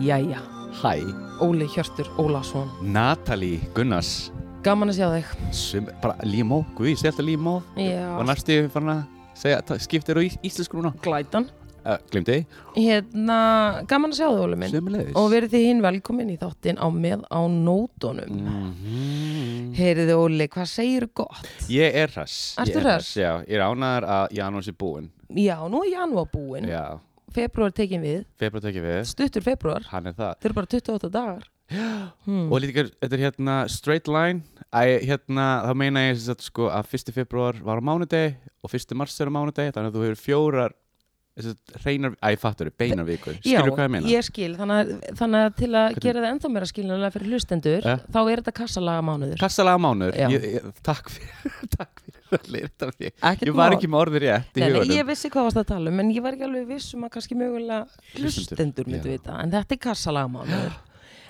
Jæja, Hæ, Óli Hjörtur Ólason Natalie Gunnars Gaman að sjá þig sem, bara límó, guði, segja alltaf límó og Já, næstu fann að segja, ta- skiptir á íslenskrúna glætan uh, Glimti, Hérna, gaman að sjá þig Óli minn sömulegis Og verið þið hinn velkomin í þáttin á með á nótunum mm Heyriði Óli, hvað segir gott? Ég er hress Ertu Ég er hress? Já, ég er ánæður að Janús er búinn Já, nú er janúar búinn Já, Februar tekin við, februar tekið við stuttur februar Hann er það Þau eru bara 28 dagar Mm. Hmm. Og líka, þetta er hérna straight line Æ, hérna, þá meina ég sem sagt, sko, að 1. februar var á mánudegi og 1. mars er á mánudegi þannig að þú hefur fjórar sem sagt, hreinar, æ, fattur, beinar vikur Skilur hvað ég meina? ég skil, þannig að, þannig að til að gera það ennþá meira skiljanlega fyrir hlustendur Eh? þá er þetta kassalaga mánuður Kassalega mánuður, Já. ég, ég, takk fyrir, takk fyrir að lirta mig. Ekkert Ég var mál. ekki með orðið rétt Hérna í Nei, nei, hugunum. ég vissi hvað varst að tala um en ég var ekki alveg viss um að kannski mögulega Hlustendur, hlustendur myndu já. vita en þetta er kassalagamánuður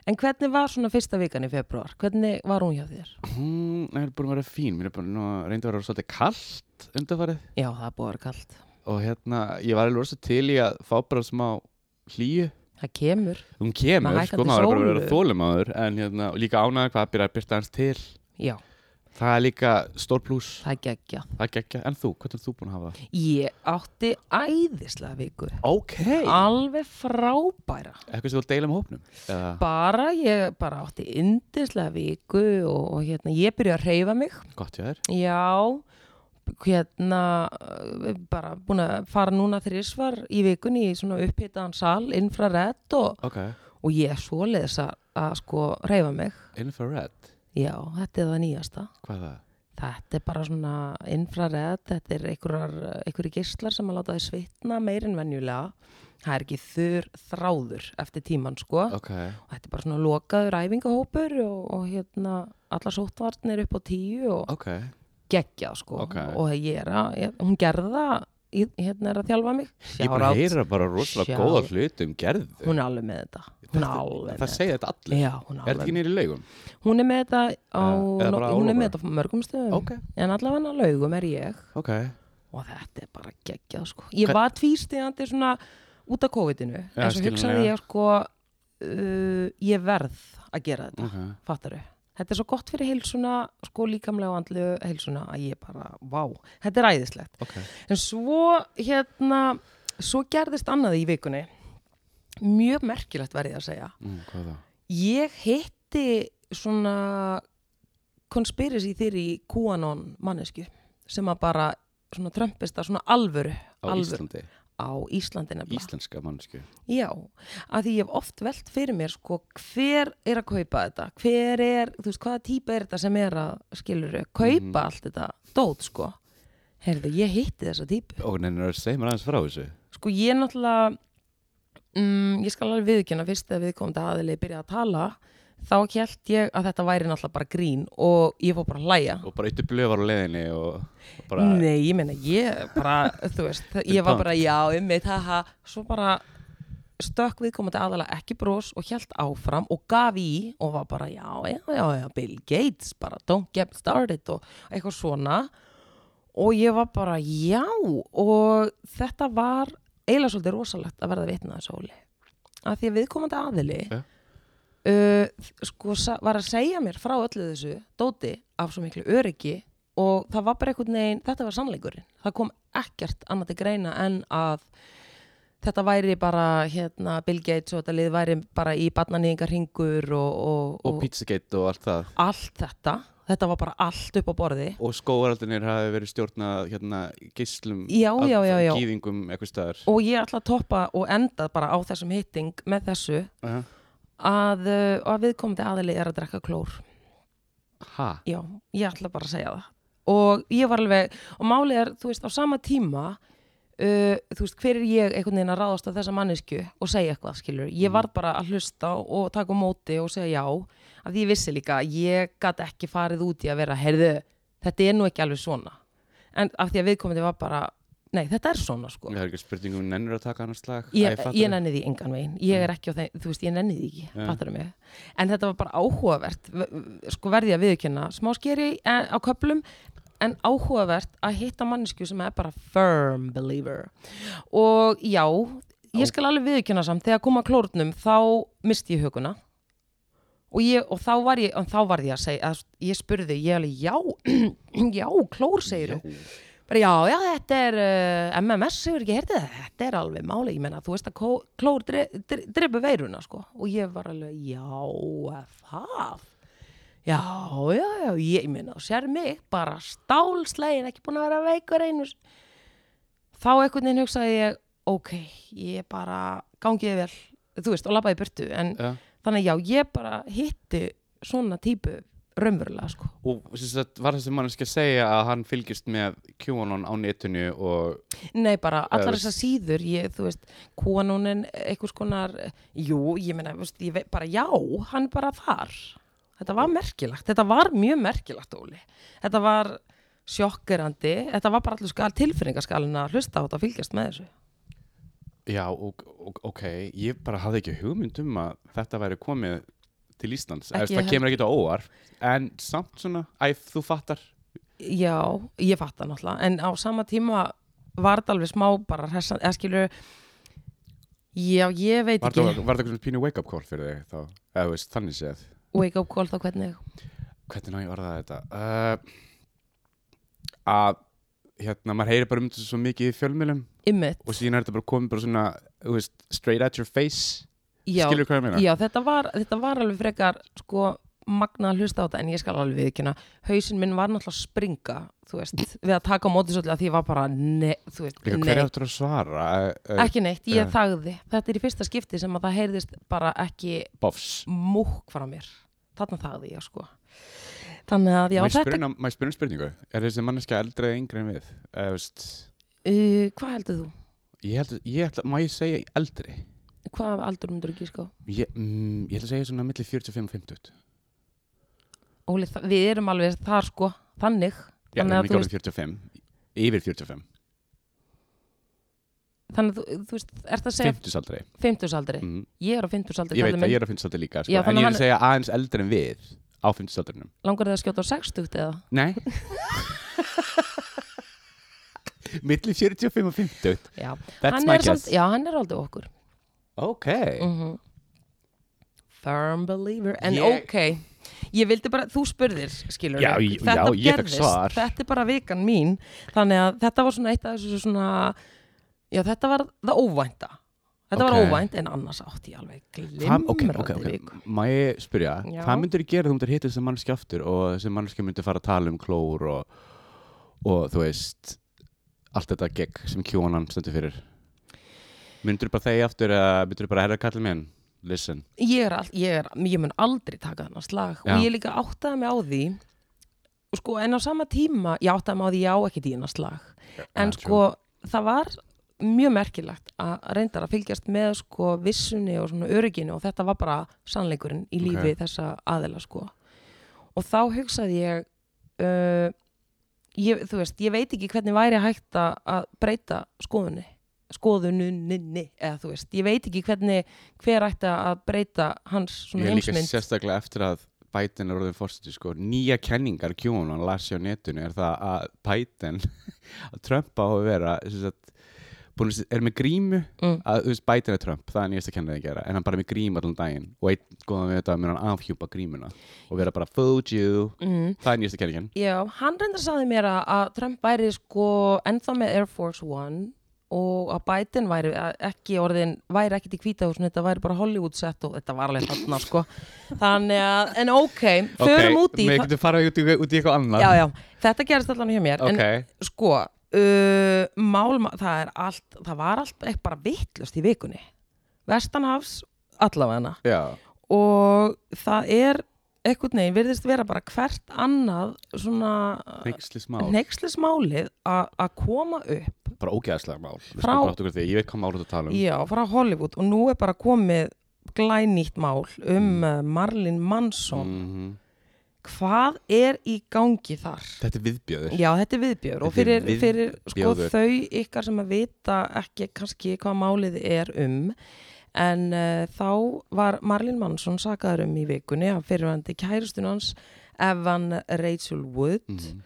En hvernig var svona fyrsta vikan í februar? Hvernig var hún hjá þér? Hún er búin að vera fín, mér er búin að reynda að vera svolítið kallt undanfarið Já, það er búið að vera kallt og hérna, ég var alveg rosa til í að fá bara smá hlýju. Það kemur, Hún Með kemur, sko, hækkandi maður er bara að sólu. vera þólum áður en hérna, og líka ánægða hvað byrja að byrta hans til. já, Það er líka stór pluss, það gekkja það gekkja. En þú, hvernig er þú búin að hafa það? Ég átti æðislega viku Ok. Alveg frábæra Eitthvað sem þú vil deila með hópnum? Eða, Bara, ég bara átti yndislega viku og, og hérna, ég byrja að reyfa mig gott hjá þér. Já, hérna eh, bara búin að fara núna þrísvar í vikunni í svona upphitaðan sal, infrarett og, Ok. og ég er svoleiðis að, að sko reyfa mig. Infrared, Já, þetta er það nýjasta. hvað er það? Þetta er bara svona infrarett, þetta er einhverjar, einhverjir geislar sem að láta þið svitna meir en venjulega. Það er ekki þurr þráður eftir tíman sko. Ok. Þetta er bara svona lokaður æfingahópur og, og hérna allar sóttvarnir upp á tíu og Ok. geggjað sko Ok. og ég er að, ég, hún gerði það ég- hérna er að þjálfa mig Ég er búin Shout out. að heyra bara rosalega Shout. góða hluti um gerðu. hún er alveg með þetta hún er alveg með Það segja þetta þetta. allir. Já, hún, er Er alveg. þetta ekki nýri laugum? hún er með þetta á, Eða- eða bara á hún er Ólafur? með þetta á mörgum stöðum Ok. en allavega á laugum er ég Ok. og þetta er bara geggjað sko ég Hva- var tvístegandi svona út af COVID-inu Já, en svo hugsaði skiljanlega. ég sko uh, ég verð að gera þetta Ok. fattar þau Þetta er svo gott fyrir heilsuna, sko líkamlega og andlu heilsuna að ég bara, vá, þetta er æðislegt. Ok. En svo, hérna, svo gerðist annað í vikunni. Mjög merkilegt verði að segja. Mm, hvað er það? Ég hitti svona conspiracy þeirri QAnon mannesku sem að bara svona trömpist að svona alvöru Á alvöru Íslandi. á Íslandi nefnilega. Íslenska mannsku. Já, að því ég hef oft velt fyrir mér sko hver er að kaupa þetta, hver er, þú veist, hvaða típa er þetta sem er að skilur kaupa allt þetta dót sko. Heyrðu, ég hitti þessa típu. Og neina, segj mér aðeins frá þessu. Sko ég náttúrulega mm, ég skal alveg viðkjöna fyrst að viðkomandi aðili byrja að tala þá held ég að þetta væri náttúrulega bara grín og ég fór bara að hlæja Og bara yttu blöfar á leiðinni og og bara... Nei, ég meina ég bara, þú veist, ég var bara já, einmitt, haha, svo bara stökk viðkomandi aðala ekki brós og hjælt áfram og gaf í og var bara já, já, já, já, Bill Gates bara don't get started og eitthvað svona og ég var bara já og þetta var eiginlega svolítið rosalegt að verða vitna þessu óli að því að viðkomandi aðili Ja. uh, sko sa- var að segja mér frá öllu þessu dóti af svo miklu öryggi og það var bara einhvern veginn, þetta var sannleikurinn það kom ekkert annað til greina en að þetta væri bara hérna Bill Gates og þetta lið væri bara í barnanýðingar hringur og, og, Og pizzagate og allt það. allt þetta þetta var bara allt upp á borði Og skóaraldinir hafi verið stjórnað hérna gíslum. Já, af já, já, já. Gýðingum eitthvað staðar. og ég ætla að toppa og enda bara á þessum hitting með þessu Uh, að, uh, að viðkomandi aðili er að drekka klór ha? Já, ég ætla bara að segja það og ég var alveg, og málið er þú veist, á sama tíma uh, þú veist, hver er ég einhvern veginn að ráðast á þessa mannesku og segja eitthvað, skilur ég var bara að hlusta og taka á móti og segja já, af því ég vissi líka að ég gat ekki farið út í að vera, heyrðu þetta er nú ekki alveg svona en af því að viðkomandi var bara nei, þetta er svona sko Það er ekki spurningum nennur að taka annars slag Æ, ég, fattar ég þig. nenni því engan veginn ég er ekki á þeim, þú veist, ég nenni því ekki Já. fattar mig, en þetta var bara áhugavert v- v- sko verði ég að viðkynna smá skeri en, á köplum en áhugavert að hitta mannesku sem er bara firm believer og já, Já. ég skal alveg viðkynna samt þegar kom að klórnum þá misti ég huguna og, ég, og þá var ég, en þá var ég að segja að ég spurði, ég alveg já já, klór segir Já. bara já, já, þetta er uh, MMS hefur ekki heyrtið það, þetta er alveg máli ég menna, þú veist að kó- klór dre, dre, drepa veiruna, sko, og ég var alveg já, er það já, já, já, ég menna þú sér mig, bara stálslegin ekki búin að vera veikur einu s- þá einhvern veginn hugsaði ég ok, ég bara gangiði vel, þú veist, og labbaði í burtu en Já. þannig að já, ég bara hitti svona típu raunverulega, sko Og sem sagt, var þessi manneski að segja að hann fylgist með QAnon á netinu og Nei, bara Eða allar veist- þessar síður ég, þú veist, konunin einhvers konar, jú, ég meina veist, ég veit, bara já, hann er bara þar þetta var merkilagt, þetta var mjög merkilagt, Óli, þetta var sjokkerandi, þetta var bara allur skal tilfinningaskalinn að hlusta á þetta og fylgjast með þessu Já, og, og, ok, ég bara hafði ekki hugmynd um að þetta væri komið til Íslands Ekki Ekki, Það ég kemur ekki á óar En samt svona, æ, þú fattar Já, ég fatt það náttúrulega en á sama tíma var þetta alveg smá bara hressan, eða skilur já, ég veit Var ekki þetta var þetta eitthvað svona pínu wake-up call fyrir þig þá? Eða þú veist, þannig séð wake up call þá hvernig hvernig ná ég orðaði þetta uh, að hérna, maður heyri bara um þetta svo mikið í fjölmjölum ymmit, og síðan er þetta bara komið bara svona þú veist, straight at your face já, skilur hvað ég meina? Já, þetta var, þetta var alveg frekar sko magna að hlusta á þetta en ég skal alveg viðkynna, hausinn minn var náttúrulega að springa, þú veist, við að taka á móti svolítið að því ég var bara, ne, þú veist Líka, hver nei, áttur að svara? Uh, ekki neitt, ég Já. þagði þetta er í fyrsta skipti sem að það heyrðist bara ekki Bofs múkk frá mér þarna þagði ég, sko þannig að, já, Má ég þetta, spyrna- má ég spyrna spurningu? Er þessi manneskja eldri eða yngri en við? Uh, veist, uh, hvað heldur þú? ég held, ég held, má ég segja eldri? Hvað aldur myndur ekki, sko? Ég, mm, ég held að segja svona milli 45 og 50 Óli, það- við erum alveg þar, sko, þannig Já, Þannig að Þannig að þú 45 Yfir 45 þannig að, þú, þú veist, ert að segja 50 aldrei fimmtusaldri, mm. ég er á fimmtusaldri Ég veit kalli að minn. ég er á 50 aldri líka sko. Já, En þannig ég er hann- að segja aðeins eldri en við Á 50 aldrinum langar þið að skjóta á 60 eða? Nei Milli 45 og 50 Já, That's hann my er, guess já, hann er aldrei okkur Ok mm Firm believer En Ég- ok, ég vildi bara, þú spurðir skilur Já, ég- þetta já, ég fékk gerðist, svar. Þetta er bara vikan mín Þannig að þetta var svona eitt af þessu svona Já, þetta var það óvænta Þetta var Ok. óvænt en annars átti ég alveg Hvað- glimrandi Ok, ok, ok viku Má ég spyrja, Já. hvað myndir gera þú myndir hitta þessi mannski aftur og þessi mannski myndir fara að tala um klór og, og þú veist allt þetta gegg sem kjónan stendur fyrir Myndir bara þegi aftur að myndir bara herra kallið minn Listen ég, er all, ég, er, ég mun aldrei taka þennan slag Já. og ég líka áttaði mig á því og sko, en á sama tíma ég áttaði mig á því ég á ekki þennan slag en já, sko, það var mjög merkilegt að reyndar að fylgjast með sko vissunni og svona örygginu og þetta var bara sannleikurinn í lífi Ok. þessa aðila sko og þá hugsaði ég uh, ég, þú veist, ég veit ekki hvernig væri hægt að- að breyta skoðunni skoðununinni, eða þú veist ég veit ekki hvernig, hver ætti að breyta hans svona Ég er líka heimsmynd sérstaklega eftir að Biden er orðin fórstuði sko, nýja kenningar kjónan las ég á netinu er það að Biden að Trump á að vera sem sagt, búin, að- er með grímu Mm. að þú veist, Biden er Trump, það er nýjasta kenningar að gera en hann bara er með grímu allan daginn og einn góðan við þetta mun hann afhjúpa grímuna og vera bara fooled you, mm. það er nýjasta kenningin Já, hann reyndar sagði mér að, að Trump væri sko ennþá með Air Force One og að Biden væri ekki orðin, væri ekki til kvítahúsin, þetta væri bara Hollywood set og þetta var alveg þarna sko. Þannig að, en ok, förum út í, Mér það, getur farað út í, út í eitthvað annað já, já, þetta gerist allan hjá mér, Ok, en sko, uh, mál, það er allt, það var allt ekki bara vittlust í vikunni, vestanhafs allavegna já, og það er, einhvern veginn virðist vera bara hvert annað svona neykslis mál hneikslismálið að að koma upp bara ógeðaslega mál, við Frá- skulum bara átta okkur á því. ég veit hvað mál þú ert að tala um já, frá Hollywood og nú er bara komið glænýtt mál um mm. Marlin eh, Manson Mhm. hvað er í gangi þar? Þetta er viðbjöður Já, þetta er viðbjör og Þetta er fyrir, fyrir sko, viðbjóður. þau ykkar sem að vita ekki kannski hvað málið er um en uh, þá var Marlin Mansson sakaður um í vikunni af fyrirvændi kæristun hans Evan Rachel Wood Mhm.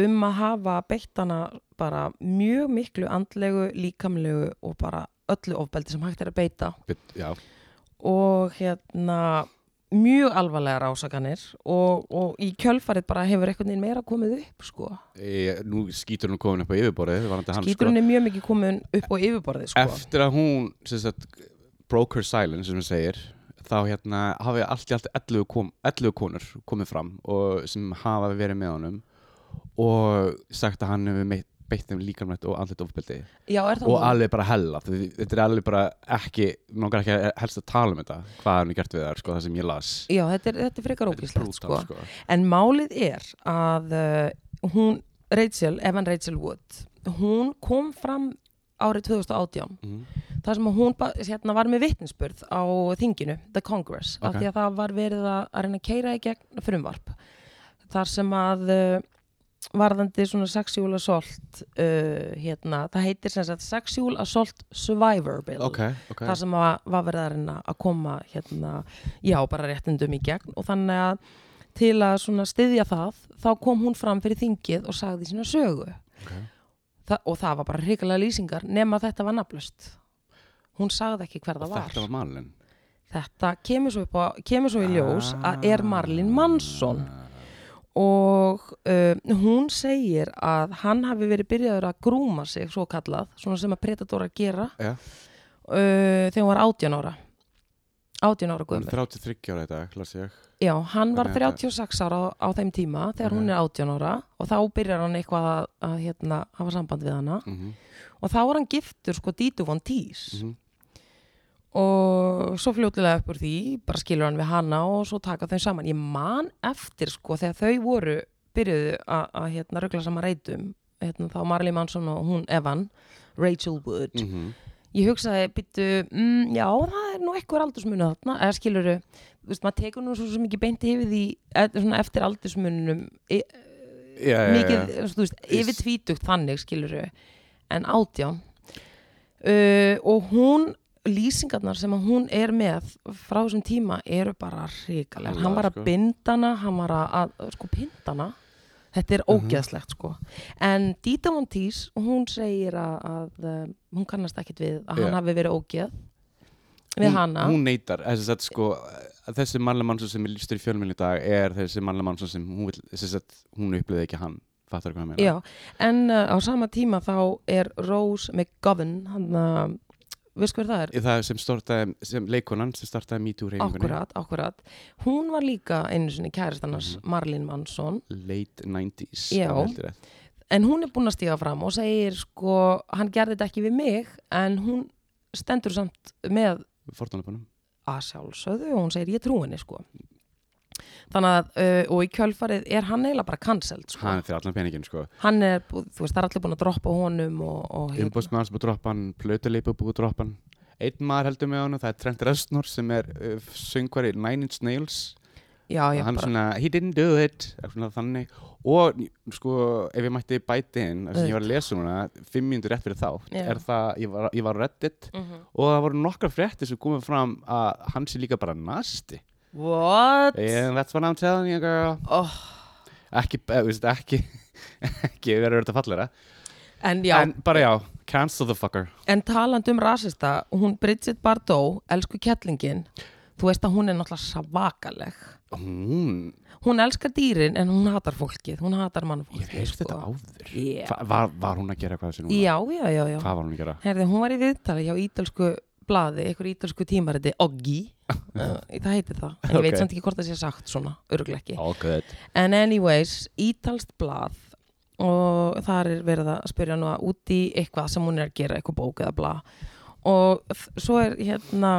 um að hafa beitt hana bara mjög miklu andlegu, líkamlegu og bara öllu ofbeldi sem hægt er að beita Já, og hérna mjög alvarlegar ásakanir og, og í kjölfarið bara hefur einhvern veginn meira komið upp sko e, nú skýtur hún komin upp á yfirborðið varandi hann, sko. Skíturinn er mjög mikið komin upp á yfirborðið sko. eftir að hún sem sagt, broke her silence sem hún segir þá hérna hafi allt í allt 11, kom, 11 konur komið fram og sem hafa verið með honum og sagt að hann hefur meitt- beitt þeim líkamlegt og andlit ofbeldi Já, er það og nú? alveg bara hella því þetta er alveg bara ekki nokkar ekki að helst að tala um þetta hvað hann er gert við þar, sko, það sem ég las Já, þetta er, þetta er frekar Þetta er ógíslegt sko. brútal, sko. En málið er að uh, hún, Rachel, Evan Rachel Wood hún kom fram árið 2018 Mhm. þar sem að hún ba- hérna, var með vitninsbörð á þinginu, The Congress af Ok. því að það var verið að, að reyna að keira í gegn frumvarp þar sem að uh, varðandi svona sexual assault uh, hérna, það heitir sem sagt sexual assault survivor bill ok, ok þar sem að, var verið að reyna að koma hérna, já, bara réttindum í gegn og þannig að til að svona styðja það, þá kom hún fram fyrir þingið og sagði sína sögu Ok. Þa, og það var bara hrikalega lýsingar nema þetta var nafnlust hún sagði ekki hver Og það var þetta var malin þetta kemur svo, upp á, kemur svo í ljós Ah. að er Marlin Mansson og uh, hún segir að hann hafi verið byrjaður að grúma sig svo kallað, svona sem að predatórar gera Já. uh, þegar hún var 18 ára 18 ára hún gömur er 33 ára í dag, las ég Já, hann var Þannig að 36 ára á, á þeim tíma þegar hún er 18 ára og þá byrjar hann eitthvað að, að hérna, hafa samband við hana Mhm. og þá er hann giftur sko Dítu von Tís Mhm. og svo fljótilega upp úr því bara skilur hann við hana og svo taka þau saman ég man eftir sko þegar þau voru byrjuðu að að, hérna ruggla saman reytum hérna, þá Marley Manson og hún Evan Rachel Wood mm -hmm. ég hugsaði, byttu, mm, já, það er nú eitthvað aldursmunu þarna, eða skiluru þú veist, maður tekur nú svo sem ekki beint yfir því eða svona eftir aldursmununum e, já, já, mikið, já. þú veist, Ís. yfir tvítugt þannig, skiluru en átján uh, og hún lýsingarnar sem að hún er með frá þessum tíma eru bara hrikalegar, Alveg, hann var að sko. binda hana hann var að, að sko, pinda hana Þetta er Mhm. ógeðslegt sko. En Dita Von Tís, hún segir að, að eh, hún kannast ekkit við að hann Já. hafi verið ógeð við Hún- hana. hún neytar, þess að sko að þessi mannlega mannsson sem er lístur í fjölminn í dag er þessi mannlega mannsson sem hún, vill, þess að hún upplýði ekki hann fattar hvað ég meina Já, en uh, á sama tíma þá er Rose McGovern, hann að, veist hver það er? Í það sem startaði, sem leikonan sem startaði MeToo reyningunni, Akkurat, akkurat. Hún var líka einu sinni kæristannars Mhm. Marlin Mansson, late 90s Já. ef ég held rétt. en hún er búin að stíga fram og segir sko, hann gerði þetta ekki við mig, en hún stendur samt með fordónleikunum að sjálfsögðu og hún segir ég trú henni sko þannig að, uh, og í kjölfarið er hann eiginlega bara cancelled sko hann er fyrir allan peningin sko hann er, bú- þú veist, það er allir búin að droppa honum og, og hérna- umbóðsmaður sem búið að droppa hann, plötuleipa búið að droppa hann einn maður heldur með honum, það er Trent Reznor sem er uh, söngvari Nine Inch Nails hérna. já, og ég hann bara, svona, he didn't do it eitthvað svona þannig og sko, ef ég mætti bæti inn þar sem ég var að lesa núna, fimm mínútur rétt fyrir þá Já. er það, ég var, ég var á reddit Mhm. og það voru nokkar fréttir sem komið fram að hann sé líka bara nasti what and that's what I'm telling you girl oh, ekki, eh, þú veist, ekki ekki verður þetta fallera en já, en en, bara já, cancel the fucker talandi um rasista hún Bridget Bardot, elsku kettlingin þú veist að hún er náttúrulega svakaleg hún, hún elskar dýrin en hún hatar fólkið hún hatar ég mannfólkið veist þetta áður sko Já. Hva, var, var hún að gera hvað þessi núna? já, já, já, já. hvað var hún að gera? Herði, hún var í viðtali hjá ítalsku blaði, einhver ítalsku tímariti, Oggi, uh, það heitir það, en ég veit Ok. samt ekki hvort það sé sagt svona, örgulega ekki. all good En anyways, ítalst blað og þar er verið að spyrja nú að út í eitthvað sem hún er að gera, eitthvað bók eða blað. Og þ- svo er hérna,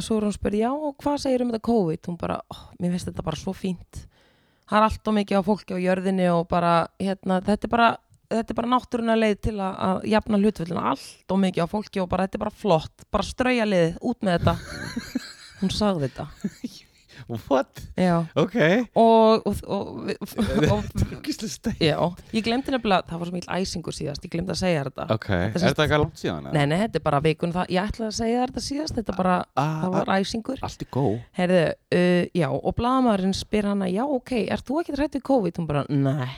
svo er hún spyrja, já, og hvað segir um þetta COVID? Hún bara, oh, mér finnst þetta bara svo fínt. Það er allt og mikið á fólki á jörðinni og bara, hérna, þetta er bara, þetta er bara náttúruna leið til að, að jafna hlutvöldina allt og mikið á fólki og bara, þetta er bara flott, bara strauja liðið, út með þetta. hún sagði þetta. what? já Ok og, og, og, og Gísli stein já, ég glemdi nefnilega, það var svo mjög æsingur síðast, ég glemdi að segja þér þetta Ok, er sem sagt- þetta eitthvað langt síðan? eða? Nei, nei, þetta er bara vikun það, ég ætlaði að segja þér þetta síðast, þetta bara, Ah, það var æsingur. Allt í góð Herðu, uh, já, og blaðamæðurinn spyr hana, já, ok, ert þú ekki hrætt við COVID? Hún bara, nei,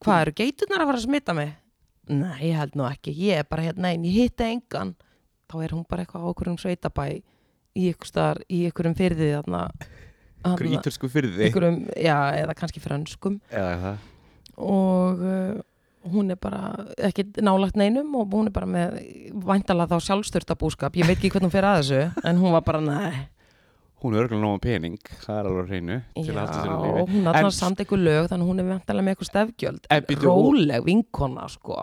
hvað eru geiturnar að fara að smita mig? Nei, ég held nú ekki, ég er bara hérna einn, ég hitti engan. Þá er hún bara eitthvað á okkur um sveitabæ, í ykkur staðar, í ykkur um fyrði þarna. Ykkur þarna, ítölsku fyrir þig Ykkur um, já, eða kannski frönskum Eða það og uh, hún er bara ekki nálagt neinum og hún er bara með væntala þá sjálfstörta búskap ég veit ekki hvernig hún fer að þessu en hún var bara nei Hún er örgulega nóg um pening Það er alveg á hreinu Til að Já, halda sér á lífi hún En- allar samt einhver lög þannig að hún er væntala með eitthvað stefgjöld En býttu, hún- róleg vinkona sko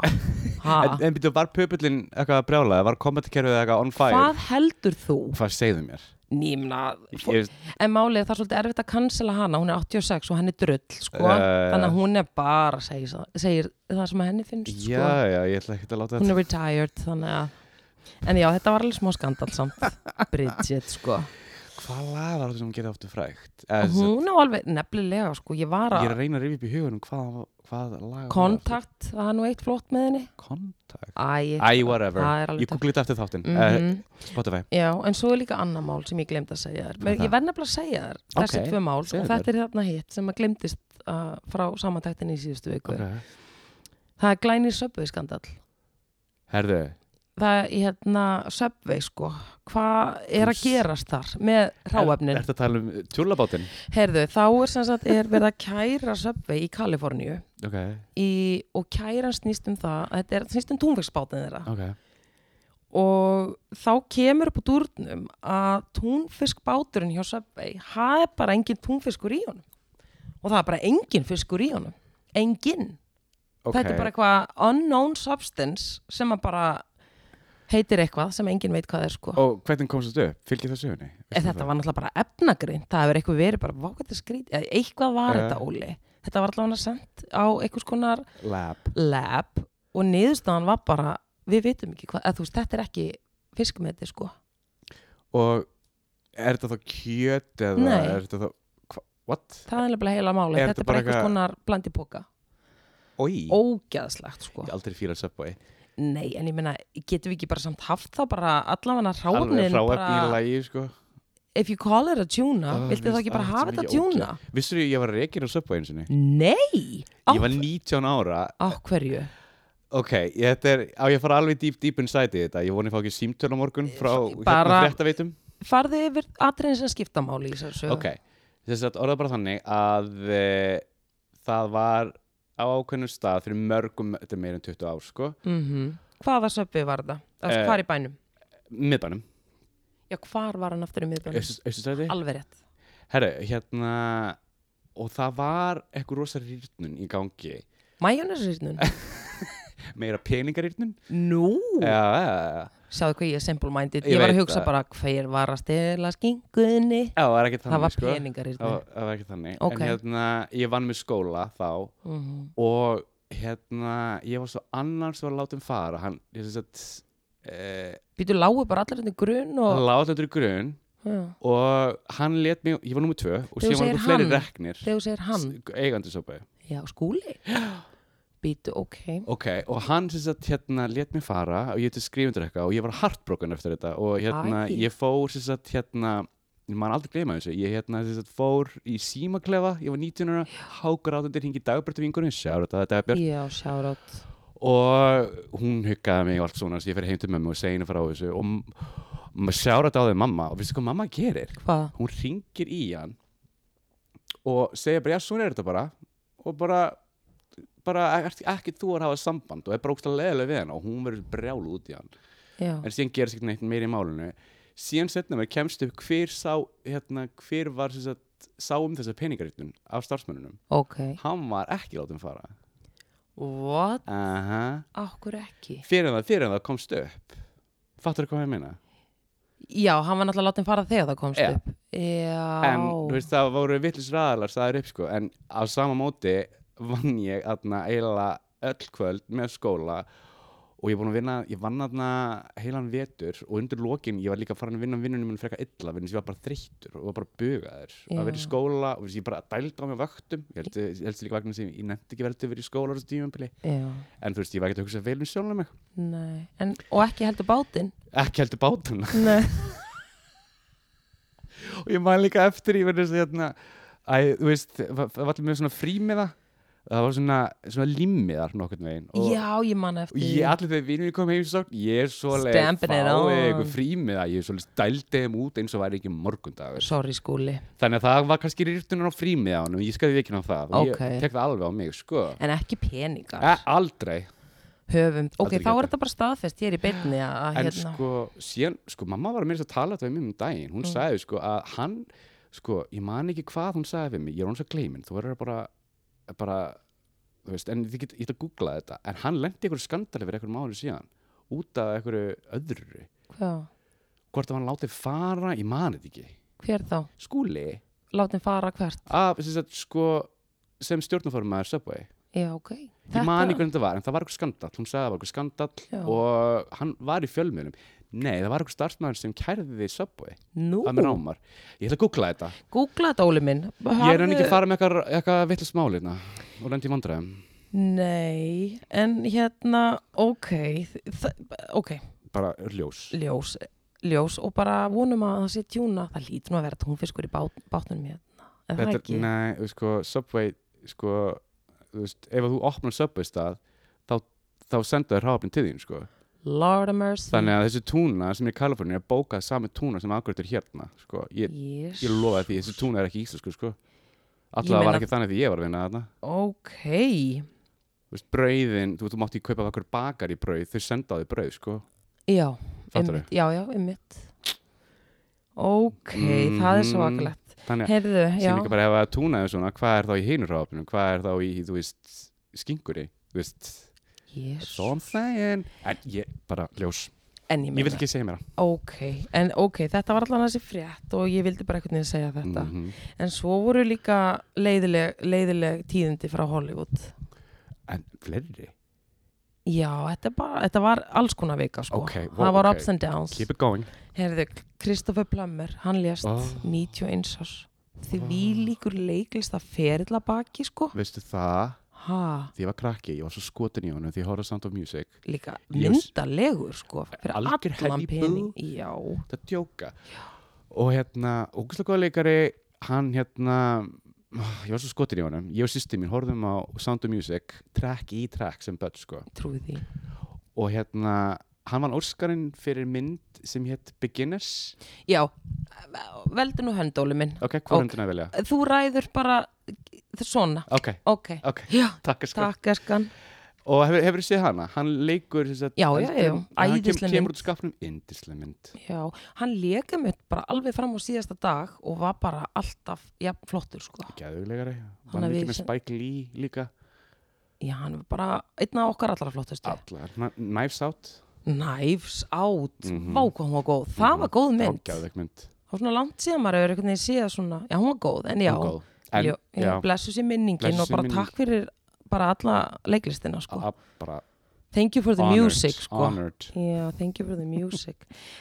Ha? En, en byrju, var pöpullin eitthvað að brjála? Var kommentarkerfið eitthvað on fire? hvað heldur þú Hvað segðu mér? nýmna Ég, ég, en málið er það er svolítið erfitt að cancela hana hún er 86 og henni drull sko Já, já, já. þannig að hún er bara segir, segir það sem henni finnst sko. já, já, ég ætla ekki að láta hún þetta er retired þannig að en já þetta var alveg smá skandal samt Bridget sko Hvað lag var þetta sem hún gerði aftur frægt? Eða, sem sagt, hún á alveg nefnilega sko ég var Ég er að að reyna að rifja upp í hugunum hvað, hvað lag var það? kontakt það er nú eitt flott með henni Kontakt Æ, Æ, whatever það er alveg Ég googla þetta eftir þáttinn mm Mhm. Spotify já en svo er líka annar mál sem ég glemd að segja þér Men Hvað ég verð nefnilega að segja þér þessi Ok, tvö mál og segðu þetta er þarna hitt sem að glemdist uh, frá samantæktinni í síðustu viku okay. það er glænir söpvei skandal Herðu það er hérna söpvei sko hvað er að Þú s- gerast þar með ráefnin Er þetta að tala um tjúlabátinn? Herðu, þá er sem sagt er verið að kæra Subway í Kaliforníu Ok, Ah. í, og kæran snýst um það að þetta er snýst um túnfisksbátin þeirra ok og þá kemur upp úr durnum að túnfiskbáturinn hjá Subway það er bara engin túnfiskur í honum og það er bara engin fiskur í honum engin, Ok, þetta er bara eitthvað unknown substance sem að bara heitir eitthvað sem engin veit hvað er sko Og hvernig komst þetta upp? Fylgir það sögunni? En Eh, þetta var náttúrulega bara efnagrind, það hefur eitthvað verið bara vákvæmt að skrýt, eitthvað var Já. þetta Óli. Þetta var allavega sendt á einhvers konar Lab lab og niðurstaðan var bara, við vitum ekki hvað, eða þú veist, þetta er ekki fiskmeti sko. Og er þetta þá kjöt eða Nei. Er þetta þá hva- What? Það er nefnilega heila máli, þetta Er þetta er bara bara einhvers eitthvað- konar blandipoka. Oi Ógæðslegt sko. Ég aldrei fýrar Subway Nei, en ég meina, getum við ekki bara samt haft þá bara allavega Alveg ráfnin hráefni í bara, lagi sko if you call it a tuna, Ah, viltu þá víst, ekki ah, bara þetta er hafa mikið þetta tuna? Vissur ég var reikir á Subway eins og Nei! Á, Ég var 19 ára á hverju? Ok, ég, þetta er, á ég að fara alveg deep, deep inside í þetta Ég voni að fá ekki símtöl á morgun frá Bara- hérna fréttaveitum Farðu yfir atriðin sem skipta máli í þessu sögu. Ok, þess að orða bara þannig að e, það var á ákveðnum stað fyrir mörgum, þetta er meira en 20 ár sko, mm Hvaða söpvi var það? Uh, Eh, hvar í bænum? miðbænum, Já, hvar var hann aftur í miðbænum? austustræti Alveg rétt. Herru, hérna og það var eitthvað rosa rýrnun í gangi, Majónesirnun? meira peningarýrnun Nú! Já, já, já, Sjáðu hvað ég er simple minded. Ég Ég, var að veit hugsa það. bara hver var að stela skingunni? já, það var ekki þannig Það var sko. það peningarirnun. var, það var ekki þannig Ok. en hérna, ég vann með skóla þá Mm og hérna ég var svo annars var látum fara hann, ég syns að eh, Býtu lágu bara allir henni grun hann og... láti þetta í grun Já. og hann let mig, ég var nummið tvö og Þegar þú síðan var segir einhver fleiri hann, reknir Þegar þú segir hann, eigandi sopa já, skúli. Býtu, ok. ok, og hann syns að hérna let mig fara og ég til skrifundur eitthvað og ég var hartbrokan eftir þetta og hérna Æ. ég fór syns að hérna mann aldrei gleyma þessu, ég hérna þess að fór í símaklefa, ég var 19 ára hákur átundir hingi dagbjörtu vingurinn sjáur þetta, þetta er Já, sjárátt. og hún huggaði mig og allt svona þess að ég fyrir heim til mömmu og segi henni frá þessu og m- maður sjára þetta á þau mamma og veistu hvað mamma gerir? Hvað? Hún ringir í hann og segir bara já svona er þetta bara og bara bara ert ekki þú að hafa samband og er bara ógstlega leðilega við hann og hún verður brjálu út í hann Já. en síðan gerist ekki neitt meir í málinu síðan setna mér kemst upp hver sá hérna, hver var sem sagt sá um þessa peningarýttun af starfsmönunum Ok. hann var ekki látið fara What? aha Akkur ekki? fyrir en það, fyrir en það komst upp fattur hvað ég meina Já, hann var náttúrulega látið fara þegar það komst Já. upp. Já. en þú veist, það voru villis ræðalar staðar upp sko, en á sama móti vann ég aðna eiginlega öll kvöld með skóla og ég er búin að vinna, ég vann aðna heilan vetur og undir lokin ég var líka farin að vinna um vinnunum minn freka illa vegna þess að ég var bara þreyttur og var bara bugaður Já. að vera í skóla og þess að ég bara dældi á mig vöktum ég held, ég held sér líka vegna sem ég nefndi ekki veldi að vera í skóla á þessu tímabili já, en þú veist, ég var ekki að hugsa vel um sjálfum mig nei en, og ekki heldur bátinn ekki heldur bátuna nei. og ég man líka eftir ég verður þess að hérna, að, þú veist, það var- það var allir með svona frímiða það var svona, svona limmiðar nokkurn veginn og, já, ég man og eftir ég, allir þegar vinnum kom heim svo, ég er svoleið Stampin' it on. eitthvað frímiða ég er svoleið dældi þeim út eins og væri ekki morgundagur sorry skúli, þannig að það var kannski rýrtunar á frímiða honum ég skal við ekki ná það og Ókei. ég tek það alveg á mig sko. en ekki peningar e, aldrei höfum, ok, Aldrei þá gert er þetta bara staðfest ég er í beinni að að, en hérna Mm. sko, síðan, sko, mamma var að mér að tala þetta við mér um daginn, hún sagði sko að hann, sko, ég man ekki hvað hún sagði við mig, ég er hún svo gleimin, þú verður að bara bara, þú veist en ég, get, ég ætla að googla þetta, en hann lendi einhverju skandali fyrir einhverjum árið síðan út af einhverju öðru, hvað, hvort að hann látið fara ég man þetta ekki, hver þá, skúli látum fara hvert af, sem sagt, sko sem stjórnumformaður Subway já, ok, ég man ekki hvernig þetta var, en það var eitthvað skandall hún sagði að það var eitthvað skandall Já. og hann var í fjölmiðlum nei, það var eitthvað starfsmæður sem kærði Subway nú, að mér ámar ég ætla að googla þetta googla þetta Óli minn ég er enn ekki Hafðu- að fara með eitthvað, eitthvað vitlis málina og lendi í vandræðum Nei, en hérna, ok, þa- ok, bara ljós ljós, ljós og bara vonum að það sé tjúna, það lítur nú að vera túnfiskur í bát, bátnum hérna, en það þetta, ekki, nei, þú veist, sko, Subway sko, þú veist, ef að þú opnar Subway stað þá, þá senda þér ráfnir til þín sko. Lord of mercy, þannig að þessi túna sem er í Kaliforni er bókað sami túna sem akkurat er hérna sko. ég, yes, ég lofa því, þessi túna er ekki íslensku sko. Ég allavega meina- var ekki þannig því ég var að vinna þarna ok, Þú veist, brauðin, þú, veist, þú mátt ekki kaupa af okkur bakar í brauð, þau senda á því brauð sko. já, Fattarðu? einmitt, já, já, einmitt, ok, það er Mhm. svakalegt, þannig að heyrðu, já, sem líka bara ef að túnaði svona hvað er þá í hinur ráfnum, hvað er þá í þú veist, skinguri þú veist, yes, so I'm saying en ég bara ljós, en ég ég vil meina, ekki segja mér ok, en ok, þetta var allan þessi frétt og ég vildi bara einhvern veginn segja þetta, það -hmm. En svo voru líka leiðileg, leiðileg tíðindi frá Hollywood. en fleiri, Já, þetta, er bara, þetta var alls konar vika, sko. Ok, wow, það var ok. ups and downs. keep it going Herðu, Kristoffer Plummer, hann lést Oh. 91 árs. Ah. Því líkur leiklist að ferilla baki, sko. veistu það, Ha, því ég var krakki ég var svo skotin í honum því ég horfði á Sound of Music líka Ég- myndalegur, sko. Fyrir Algjör allan helli pening. Já, þetta er djóka og hérna, ógæslega góða leikari hann hérna ég var svo skotin í honum, ég og sýsti mín horfðum á Sound of Music, track í track sem börn sko trúi því. og hérna hann vann Óskarinn fyrir mynd sem hétt Beginners Já, veldu nú höndólu minn. ok, Ok. hvað höndin að velja? Þú ræður bara svona. ok, Ok. ok, Já, takk Ah. sko takk, Eskan. og hefur, hefur þið séð hana? hann leikur þess að Já, já, já, hann kem, æðisleg mynd. kemur út úr skapnum, indislega mynd Já, hann leka mitt bara alveg fram á síðasta dag og var bara alltaf jafn flottur sko. gæðuglegari, Hann hann að ekki við með sem- Spike Lee líka Já, hann var bara einn af okkar allra flottustu. allar, Kn- Knives Out Knives Out, mm Mhm. vá hvað hún var góð. Það var góð mynd. ágæðug mynd Það var svona langt síðan maður hefur einhvern veginn síða svona, já hún var góð, en já, Hún góð. en, já, já, já. blessu sér minningin Blessuð og sé bara minning. takk fyrir bara alla leiklistina sko. að- bara Thank you for the honored, music sko. honored Já, thank you for the music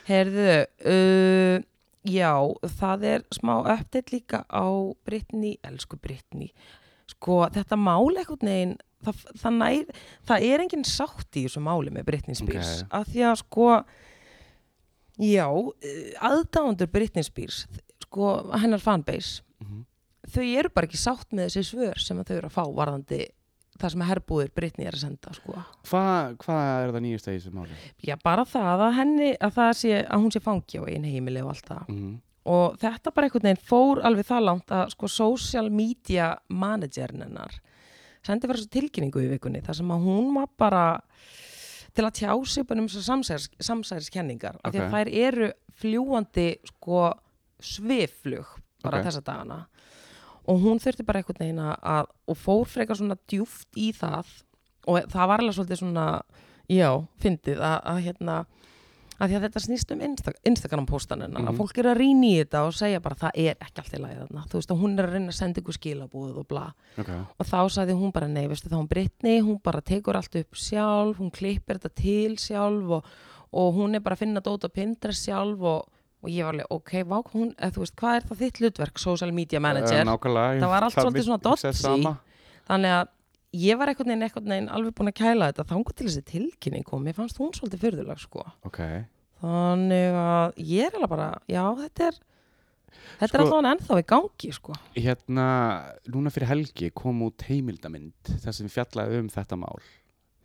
Herðu, uh, já, það er smá uppdeitt líka á Brittany, elsku Brittany Sko, þetta mál eitthvað neginn, það, það, nær, það er engin sátt í þessu máli með Brittany Spears Ok. að því að sko, já, aðdáðundur Brittany Spears, sko, hennar fanbase Mhm. Þau eru bara ekki sátt með þessi svör sem að þau eru að fá varðandi það sem að herbúðir Brittany er að senda, sko hvað hva er það nýjast að í þessu máli? Já, bara það að henni, að það sé, að hún sé fangi á einu heimili og allt það. Mm. Og þetta bara einhvern veginn fór alveg það langt að sko social media managerin hennar sendi fyrir þessu tilkynningu í vikunni þar sem að hún var bara til að tjá sig bara um þessu samsæris, samsæriskenningar. af Því að Ok. þær eru fljúandi sko sviflug bara Ok. þessa dagana. Og hún þurfti bara einhvern veginn að- að, og fór frekar svona djúft í það og það var alveg svolítið svona já, fyndið að, að hérna af því að þetta snýst um Insta Instagram postanina mm fólk eru að rýna í þetta og segja bara það er ekki allt í lagi þarna þú veist að hún er að reyna að senda ykkur skilabúð og bla ok, og þá sagði hún bara nei, veistu þá hún Brittany hún bara tekur allt upp sjálf hún klippir þetta til sjálf og, og hún er bara að finna dót á Pinterest sjálf og, og ég var alveg, ok, vá, hún, eð, þú veist, hvað er það þitt hlutverk social media manager, Eh, nákvæmlega ég- Það var allt svolítið mitt- svona ég segi dodgy. sama. þannig að ég var einhvern veginn, einhvern veginn alveg búin að kæla þetta þangur til þessi tilkynning kom, mér fannst hún svolítið fyrðulag sko. ok, Þannig að ég er alveg bara, já, þetta er, þetta er Sko- allavega ennþá í gangi, sko. hérna núna fyrir helgi kom út heimildamind þar sem fjallaði um þetta mál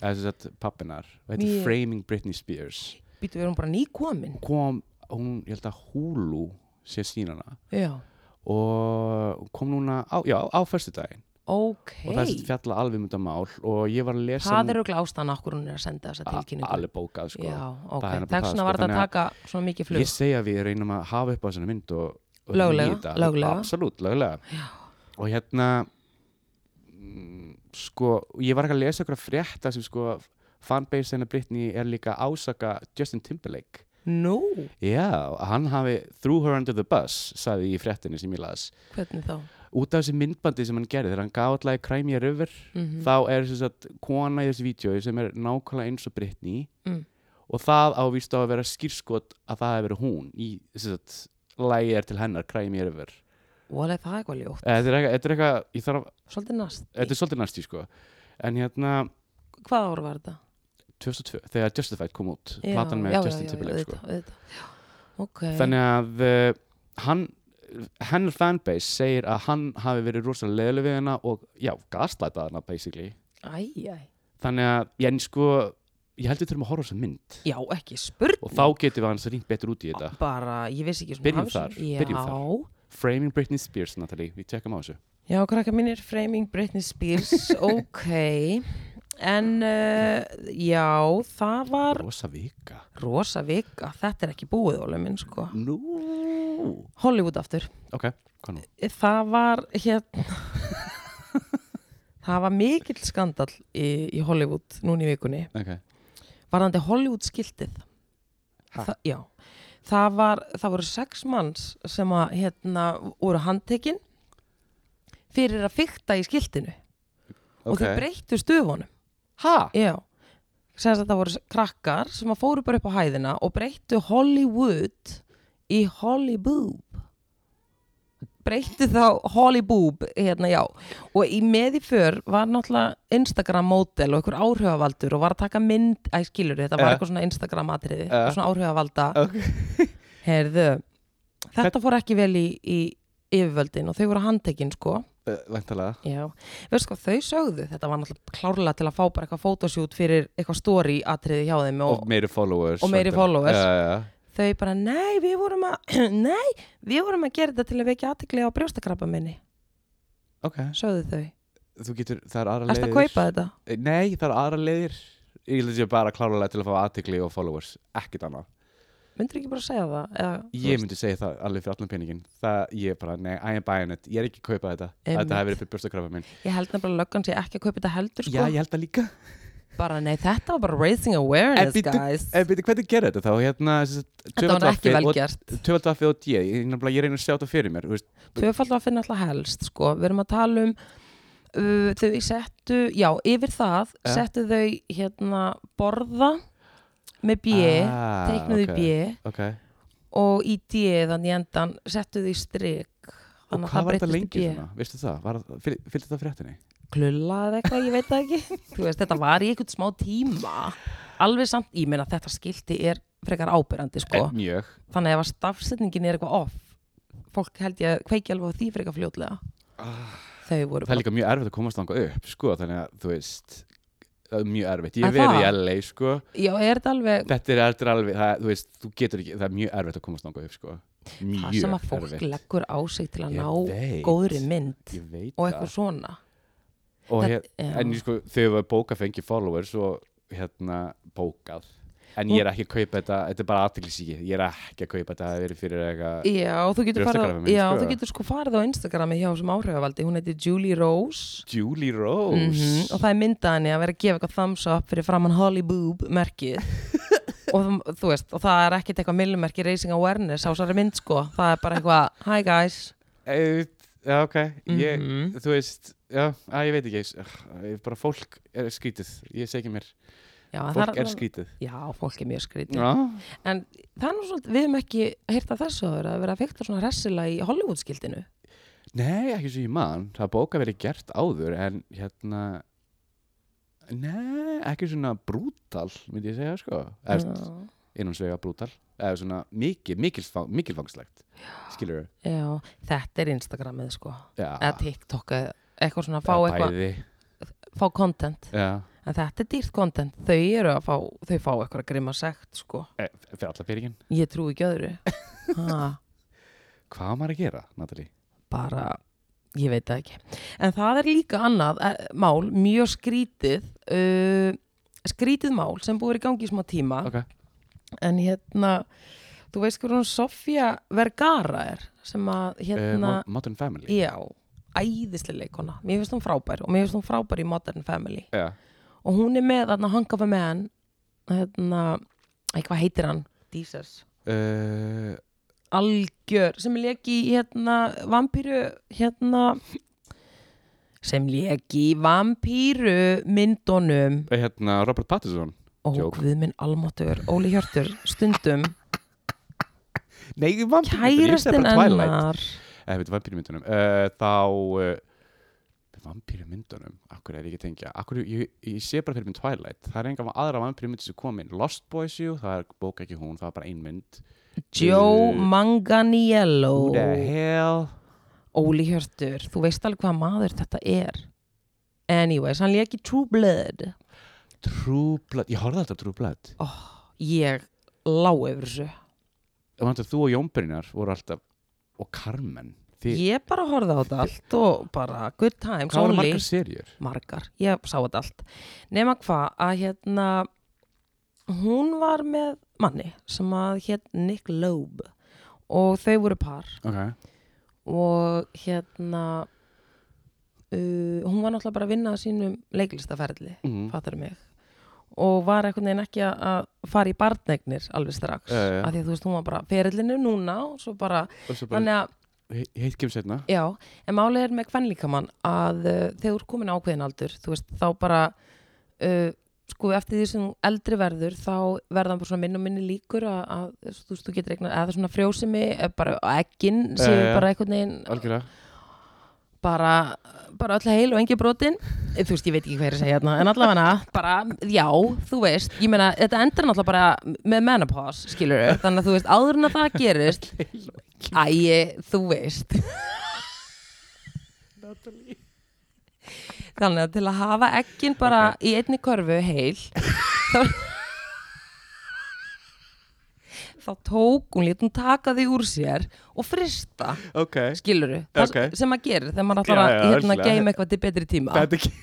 eða þess að pappinar og Mjög. heitir Framing Britney Spears Býtu, við erum bara nýkomin. kom, hún, ég held að Hulu sé sínana Já, og kom núna á, já, á föstudaginn ok. og það er fjalla alveg um þetta mál og ég var að lesa Það eru glástaðan okkur hún er að senda þessa tilkynningu. a- alveg bókað sko. Já, ok. Það er nefnilega það, Þess vegna sko, var þetta þannig að að- taka svona mikið flug. ég segja að við reynum að hafa upp á þessari mynd og, og Löglega, nýta. löglega. absolutt, löglega já. og hérna mm, sko, ég var ekki að lesa okkur frétta sem sko fanbase hennar Britney er líka að ásaka Justin Timberlake Nú, já, að hann hafi threw her under the bus sagði í fréttinni sem ég las hvernig þá? út af þessi myndbandi sem hann gerði þegar hann gaf alltaf í Crimea River Mhm. þá er þess að kona í þessu vídeo sem er nákvæmlega eins og Britney Mm. og það ávíst á að vera skýrskot að það hefur verið hún í þess að lægi er til hennar Crimea River Vole, það er eitthvað ljótt. Eh, þetta er eitthvað, þetta er eitthvað, ég þarf Svolítið nast. þetta er svolítið næstí sko en hérna Hvað ára var þetta? 2002 þegar Justified kom út Já, platan með já, Justin já, já, Timberlake já, sko. auðvitað, auðvitað. Já, Ok. þannig að uh, hann hennar fanbase segir að hann hafi verið rosalega leðileg við hennar og já, gaslætað hennar basically Æ, æ. þannig að, ég en sko ég held við þurfum að horfa á þessa mynd Já, ekki spurning. og þá getum við hans rýnt betur út í þetta Bara, ég vissi ekki svona. Byrjum hafi svona- þar, byrjum Já. Framing Britney Spears, Natalie, við tjekkum á þessu Já, krakka mínir, Framing Britney Spears, ok, en uh, já, það var Rosa vika rosa vika, þetta er ekki búið, Óli minn, sko. Nú Hollywood aftur, Ok, hvað nú? það var, hérna, það var mikill skandal í, í Hollywood núna í vikunni, Ok, varðandi Hollywood skiltið. Ha? Það, já, það, var, það voru sex manns sem að, hérna, voru handtekinn fyrir að fykta í skiltinu og þau okay. breyttu stöfunum. Ha? Já, sem sagt það voru krakkar sem að fóru bara upp á hæðina og breyttu Hollywood í Hollyboob breyttu þá Hollyboob hérna já og í með í för var náttúrulega Instagram módel og einhver áhrifavaldur og var að taka mynd, æ skilur þetta var Eh. eitthvað svona Instagram atriði, Eh. svona áhrifavalda Ok. heyrðu, þetta fór ekki vel í, í yfirvöldin og þau voru handtekinn sko Uh, Væntalega Já, veist sko, þau sögðu þetta var náttúrulega klárlega til að fá bara eitthvað fótosjút fyrir eitthvað story atriði hjá þeim og, Og meiri followers Og meiri væntanlega. followers. Já, já, já þau bara, nei, við vorum að nei, við vorum að gera þetta til að vekja aðtekli á brjóstakrabba minni, Ok, sögðu þau þú getur, það er aðra leiðir Erst að kaupa þetta? Eh, Nei, það er aðra leiðir Ég held að sé bara klárlega til að fá aðtikli og followers Ekkert annað Myndur ekki bara að segja það? Eða, þú Ég veist, myndi segja það alveg fyrir allan peningin Það, ég bara, nei, I am buying it Ég er ekki að kaupa þetta Einmitt. Þetta hefur verið fyrir björstakrafa minn ég held nefnilega að löggan sé ekki að kaupa þetta heldur sko, Já, ég held það líka bara nei, þetta var bara raising En awareness Eh, bíddu, guys En byrju, hvernig gerði þetta þá? Hérna, Þetta var ekki vel gert Tvöfaldvaffið og D, ég, nefnilega- ég reyna að sjá þetta fyrir mér þú veist. Tvöfald var finna alltaf helst sko. Við erum að tala um uh, þau settu, já, yfir það Ja. settu þau hérna borða með B, Ah, teiknuðu ok. í B Ok, og í D þannig í endan settu þau í strik og hvað var þetta lengi svona? Veistu það, var, fyl, fylgdi það fréttinni? klullaði eitthvað, ég veit það ekki þú veist, þetta var í einhvern smá tíma alveg samt, ég meina þetta skilti er frekar ábyrrandi sko En Mjög þannig ef að stafsetningin er eitthvað off fólk held ég að kveiki alveg á því frekar fljótlega þau voru Ah, Það er líka mjög erfitt að komast þangað upp, sko, þannig að þú veist það er Mjög erfitt, ég Er hef verið í það? LA, sko já, er þetta alveg Þetta er, þetta er alveg, það, þú veist, þú getur ekki Það er mjög erfitt að komast þangað upp, sko Mjög það sem að fólk erfitt. leggur á sig til að Ég ná veit. góðri mynd Ég veit og það. eitthvað svona og Þetta- hér, já. en ég sko, þau hefur bókað fengið followers og hérna bókað en ég er ekki að kaupa þetta, þetta er bara aðtæklisíki ég er ekki að kaupa þetta, það hefur verið fyrir eitthvað já, þú getur, farið, Brjóstakrabbamein, á- já, sko. þú getur sko farið á Instagrami hjá sem áhrifavaldi, hún heiti Julie Rose Julie Rose Mhm, og það er myndaðinni að vera að gefa eitthvað thumbs up fyrir framann Hollyboob merkið og þú- þú veist, og það er ekkit eitthvað millumerki raising awareness á svari mynd sko það er bara eitthvað, hi guys Eh, Já, ok, ég, Mhm. þú veist, já, að, ég veit ekki, ég, ég, bara fólk er skrítið, ég segi ekki mér, já, það fólk er skrítið. já, fólk er mjög skrítið Já, en það er nú svolítið, við hefum ekki heyrt af þessu áður, að vera að fykta svona hressilega í Hollywoodskildinu nei, ekki svo ég man, það bóka verið gert áður en hérna, nei, ekki svona brútal, myndi ég segja, sko, eða Já. innansvega brútal, eða svona mikil, mikilfang, mikilfangslegt, skilur já, þetta er Instagramið sko já, eða TikTok eða eitthvað svona fá, Ah. eða eitthvað, bæði, fá content já, en þetta er dýrt content, þau eru að fá þau fá eitthvað að grima sekt sko e, fyrir alla fyrirginn, ég trúi ekki öðru ha, hvað á maður að gera, Natalie? bara, ég veit það ekki en það er líka annað eh, mál, mjög skrítið uh, skrítið mál sem búið er í gangi í smá tíma Ok, en hérna, þú veist hver hún Sofía Vergara er sem að Eh, hérna Mo- Modern Family, já, æðislega leikona mér finnst hún frábær og mér finnst hún frábær í Modern Family já, og hún er með þarna Hang of a Man hérna, eitthvað heitir hann Dísers uh, algjör sem leik í hérna vampíru hérna sem leik í vampíru myndunum hérna Robert Pattinson og Joke. við minn almáttur Óli Hjörtur stundum Nei, vampýrmyndunum, ég segi kærastinn bara Twilight ennar Eða, Eh, veit, vampýrmyndunum uh, Þá uh, Vampýrmyndunum, akkur er ég ekki að tengja akkur, ég, ég sé bara fyrir minn Twilight Það er enga aðra vampýrmynd sem komin Lost Boys, jú, það er bók ekki hún, það er bara ein mynd Joe Uh, Manganiello Who the hell Óli Hjörtur, þú veist alveg hvað maður þetta er anyways, hann leik í True Blood True Blood, ég horfði alltaf True Blood ég lá yfir þessu Og hann þú og Jónbyrnar voru alltaf Og Carmen Þið, ég bara horfði á þetta allt og bara good times Hvað voru only. margar serjur? margar, ég sá þetta allt nema hvað að hérna hún var með manni sem að hétt Nick Loeb og þau voru par Ok, og hérna uh, hún var náttúrulega bara að vinna á sínum leiklistaferðli, mm. fattar mig og var einhvern veginn ekki að- að fara í barnegnir alveg strax Já, já. af því að þú veist, hún var bara ferillinu núna og svo bara, og svo bara þannig að he- Heitt kemur setna Já, en málið er með kvennlíkamann að uh, þegar þú er komin ákveðin aldur þú veist, þá bara uh, sko eftir því sem þú eldri verður þá verða hann bara svona minn og minni líkur að, að þú veist, þú getur eignar eða svona frjósemi, eh, bara ekkin séu Já, já. bara einhvern veginn Algjörlega bara, bara öll heil og engi brotin Eh, þú veist, ég veit ekki hvað ég er að segja hérna en allavega bara, já, þú veist ég meina, þetta endur náttúrulega bara með menopause, skilur þannig að þú veist, áður en að það gerist æ, þú veist Natalie Þannig að til að hafa ekkin bara í einni körfu heil þá, þá tók hún, lét hún taka því úr sér og frista, Ok skiluru það Ok. sem maður gerir þegar maður ætlar Já, já, að hérna, örugglega. geima eitthvað til betri tíma Þetta er ekki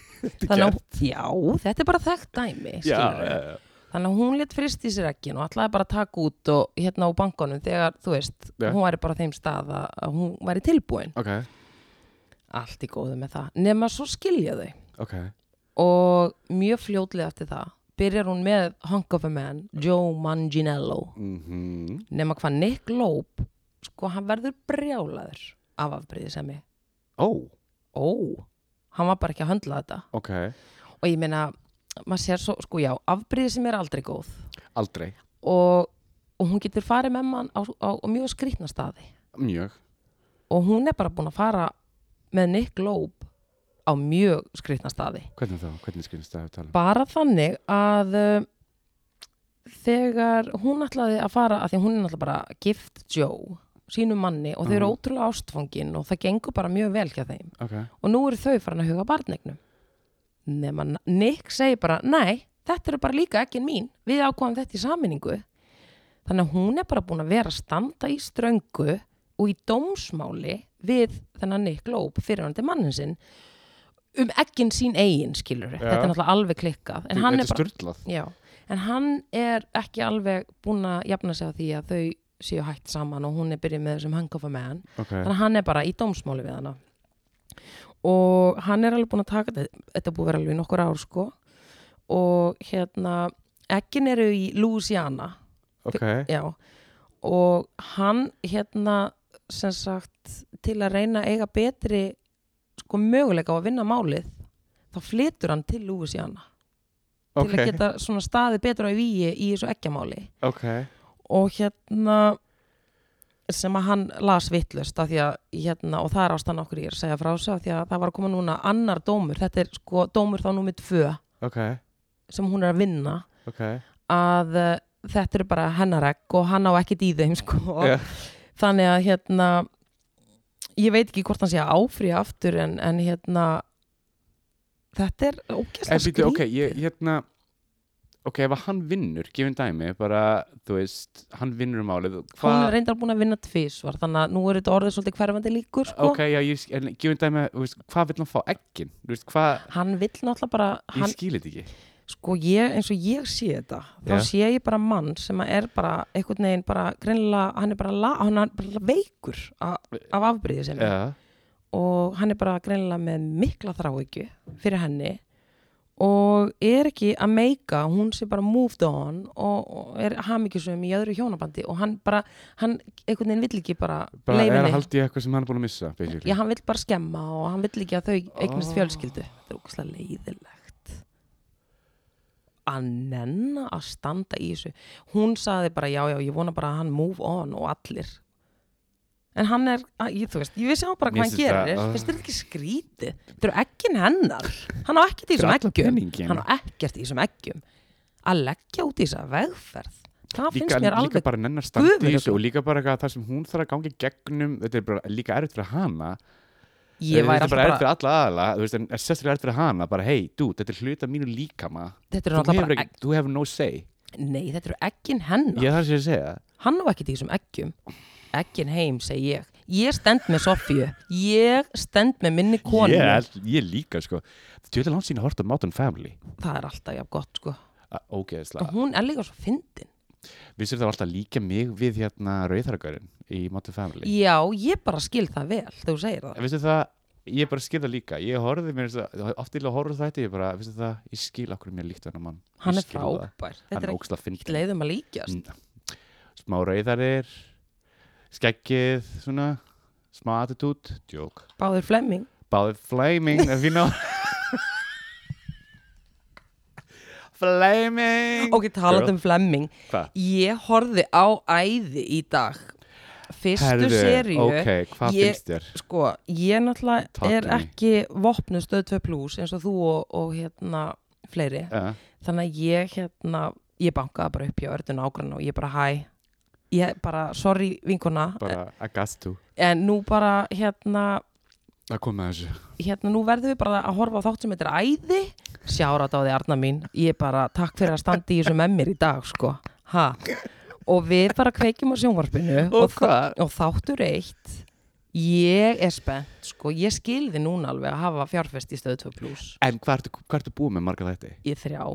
Þannig að, já, þetta er bara þekkt dæmi Já, skilurðu. já, já. Þannig að hún létt frist í sér ekkin og ætlaði bara að taka út og hérna á bankanum þegar, þú veist, Já. hún væri bara á þeim stað að- að hún væri tilbúin Ok, Allt í góðu með það, nema svo skilja þau ok og mjög fljótlega eftir það byrjar hún með Hunk of a Man Joe Manganiello mm nema hvað Nick Loeb sko hann verður brjálaður af afbreyði sem ég Ó, ó, hann var bara ekki að höndla þetta ok og ég meina, maður sér svo sko já, afbreyði sem er aldrei góð Aldrei, og, og hún getur farið með mann á, á, á mjög skrýtna staði mjög og hún er bara búin að fara með Nick Loeb á mjög skrýtna staði Hvernig þá, hvernig skynst það að tala um? bara þannig að uh, þegar hún ætlaði að fara, að því að hún er náttúrulega bara gift Joe, sínum manni og þau eru Mhm. ótrúlega ástfangin og það gengur bara mjög vel hjá þeim Ok, og nú eru þau farin að huga barnegnum nema Na- Nick segir bara nei, þetta eru bara líka ekki mín við ákvaðum þetta í saminningu þannig að hún er bara búin að vera að standa í ströngu og í dómsmáli við þennan Nick Loeb fyrir hann til mannin sinn um ekkin sín eigin skilur Já. þetta er náttúrulega alveg klikkað en Þú- hann þetta er, er bara, sturlað já, en hann er ekki alveg búin að jafna sig á því að þau séu hægt saman og hún er byrjuð með þessum hangofa með hann Ok, þannig að hann er bara í dómsmáli við hana og hann er alveg búin að taka þetta þetta er búið að vera alveg í nokkur ár sko og hérna ekkin eru í Louisiana ok, já og hann hérna sem sagt til að reyna að eiga betri sko möguleika á að vinna málið þá flytur hann til Louisiana ok, til að geta svona staði betur á víi í þessu ekkjamáli ok og hérna sem að hann las vittlust af því að hérna og það er ástæðan okkur ég er að segja frá þessu af því að það var að koma núna annar dómur þetta er sko dómur þá númið tvö ok, sem hún er að vinna ok að uh, þetta eru bara hennaregg og hann á ekkit í þeim sko Já. þannig að hérna ég veit ekki hvort hann sé að áfrýja aftur en, en hérna þetta er ógæslega En býtu, skrýt Eh, ok, ég, hérna ok, ef að hann vinnur, gefin dæmi bara, þú veist, hann vinnur um álið hún er reyndar búin að vinna tvísvar þannig að nú eru þetta orðið svolítið hverfandi líkur sko. ok, já, ég, en gefin dæmi þú veist, hvað vill hann fá ekkin, þú veist, hvað hann vill náttúrulega bara ég hann, skil þetta ekki sko ég, eins og ég sé þetta þá Já. sé ég bara mann sem að er bara einhvern veginn bara greinilega hann er bara, la, hann er bara veikur a, af afbríði sinni já, og hann er bara greinilega með mikla þráhyggju fyrir henni og er ekki að meika hún sé bara moved on og, og er hamingjusum í öðru hjónabandi og hann bara, hann einhvern veginn vill ekki bara, bara leyfa er henni. að haldi í eitthvað sem hann er búin að missa basically. Já, hann vill bara skemma og hann vill ekki að þau eignast Oh. fjölskyldu. Þetta er ógæslega leiðilegt. Að nenna að standa í þessu. Hún saði bara, já, já, ég vona bara að hann move on og allir. En hann er, að, ég, þú veist, ég vissi á bara hvað Mér hann finnst þetta- gerir. oh. Finnst þér ekki skrítið? Þetta eru ekkin hennar. Hann á ekkert í Þetta er þessum allan eggjum. penninginn. Hann á ekkert í þessum eggjum. Að leggja út í þessa vegferð. Það finnst líka, mér líka alveg bara nennar standi í gufuruglum. þessu og líka bara eitthvað það sem hún þarf að gangi gegnum þetta er bara líka erfitt fyrir hana ég væri alltaf þetta er bara bara, erfitt fyrir alla aðala þú veist, en er sérstaklega erfitt fyrir hana bara hei, dude, þetta er hluta mínu líkama þetta eru þú náttúrulega hefur bara, ekki, þú hefur no say egg- nei, þetta eru ekkin hennar ég þarf sér að segja hann á ekkert í þessum eggjum eggin heim, segi ég ég stend með Sofíu, ég stend með minni konu, ég, held- ég líka sko þetta er langt sín að horta Modern Family það er alltaf jafn gott sko, Að- ógeðslega, og hún er líka svo fyndin vissir það var alltaf líka mig við hérna rauðargarinn í Modern Family já, ég bara skil það vel þegar þú segir það, vissir það, ég bara skil það líka ég horfði mér, oft til að horfa þetta ég bara, vissir það, ég skil okkur mér líkt hennar mann Ég hann er skil það. frábær hann þetta er er ógeðslega Mm. ekki fyndin leiðum að líkjast smá rauðarir skeggið, svona smá attitude, djók báður Flemming, Báði flaming, ef ég ná Flaming ok, talað um Flemming Hvað? ég horfði á æði í dag fyrstu seríu Ok, hvað Ég- finnst þér? sko, ég náttúrulega Talk er to me. ekki vopnu stöð 2 plus eins og þú og, og hérna fleiri Uh, þannig að ég hérna ég bankaði bara upp hjá ördu nágrann og ég bara hæ ég bara, sorry vinkona bara, I got to en nú bara hérna Það kom með þessu hérna nú verðum við bara að horfa á þátt sem þetta er æði sjárat á því Arna mín ég bara takk fyrir að standa í þessu með mér í dag sko, ha og við bara kveikjum á sjónvarpinu Og þa- hvað? og þáttur eitt ég er spennt sko, ég skilði núna alveg að hafa fjárfest í stöð 2 plus En hvað ertu, hvað ertu búið með marga þetta? í þrjá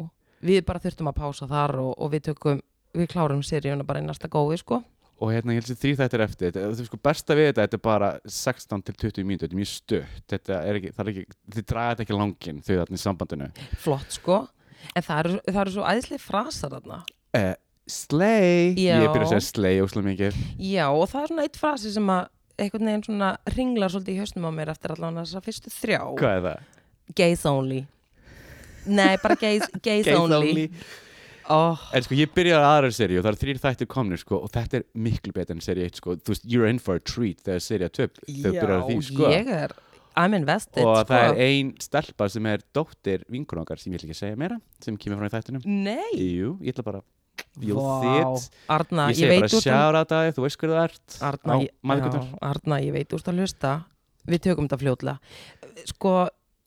við bara þurftum að pása þar og, og við tökum við klárum seríuna bara í næsta góði sko Og hérna, ég held sér þrý þetta er eftir þetta, Þú sko, besta við þetta, þetta er bara 16 til 20 mínútur Þetta er mjög stutt Þetta er ekki, það er ekki, þið draga þetta ekki langin Þau þarna í sambandinu flott sko en það eru, það eru svo æðislega frasar þarna uh, Slay Já. Ég byrja að segja slay, óslega mikið já og það er svona eitt frasi sem að einhvern veginn svona ringlar svolítið í hausnum á mér eftir allan þessar fyrstu þrjá Hvað er það? gays only nei bara gays, gays, only, Oh, En sko, ég byrjaði aðra seríu og það eru þrýr þættir komnir sko og þetta er miklu betur en seríu 1 sko þú veist, you're in for a treat þegar seríu 2 þegar byrjar á því sko ég er I'm invested sko. og það er ein stelpa sem er dóttir vinkur okkar sem ég ætla ekki að segja meira sem kemur frá í þættinum nei Jú, ég ætla bara you'll Vá. see it Arna, ég, Ég segi veit um- bara úr þeim- sjára þetta þú veist hverðu það ert Arna, á ég- mæðgutnar já, Arna, ég veit úrst að hlusta Við tökum þetta fljótlega Sko,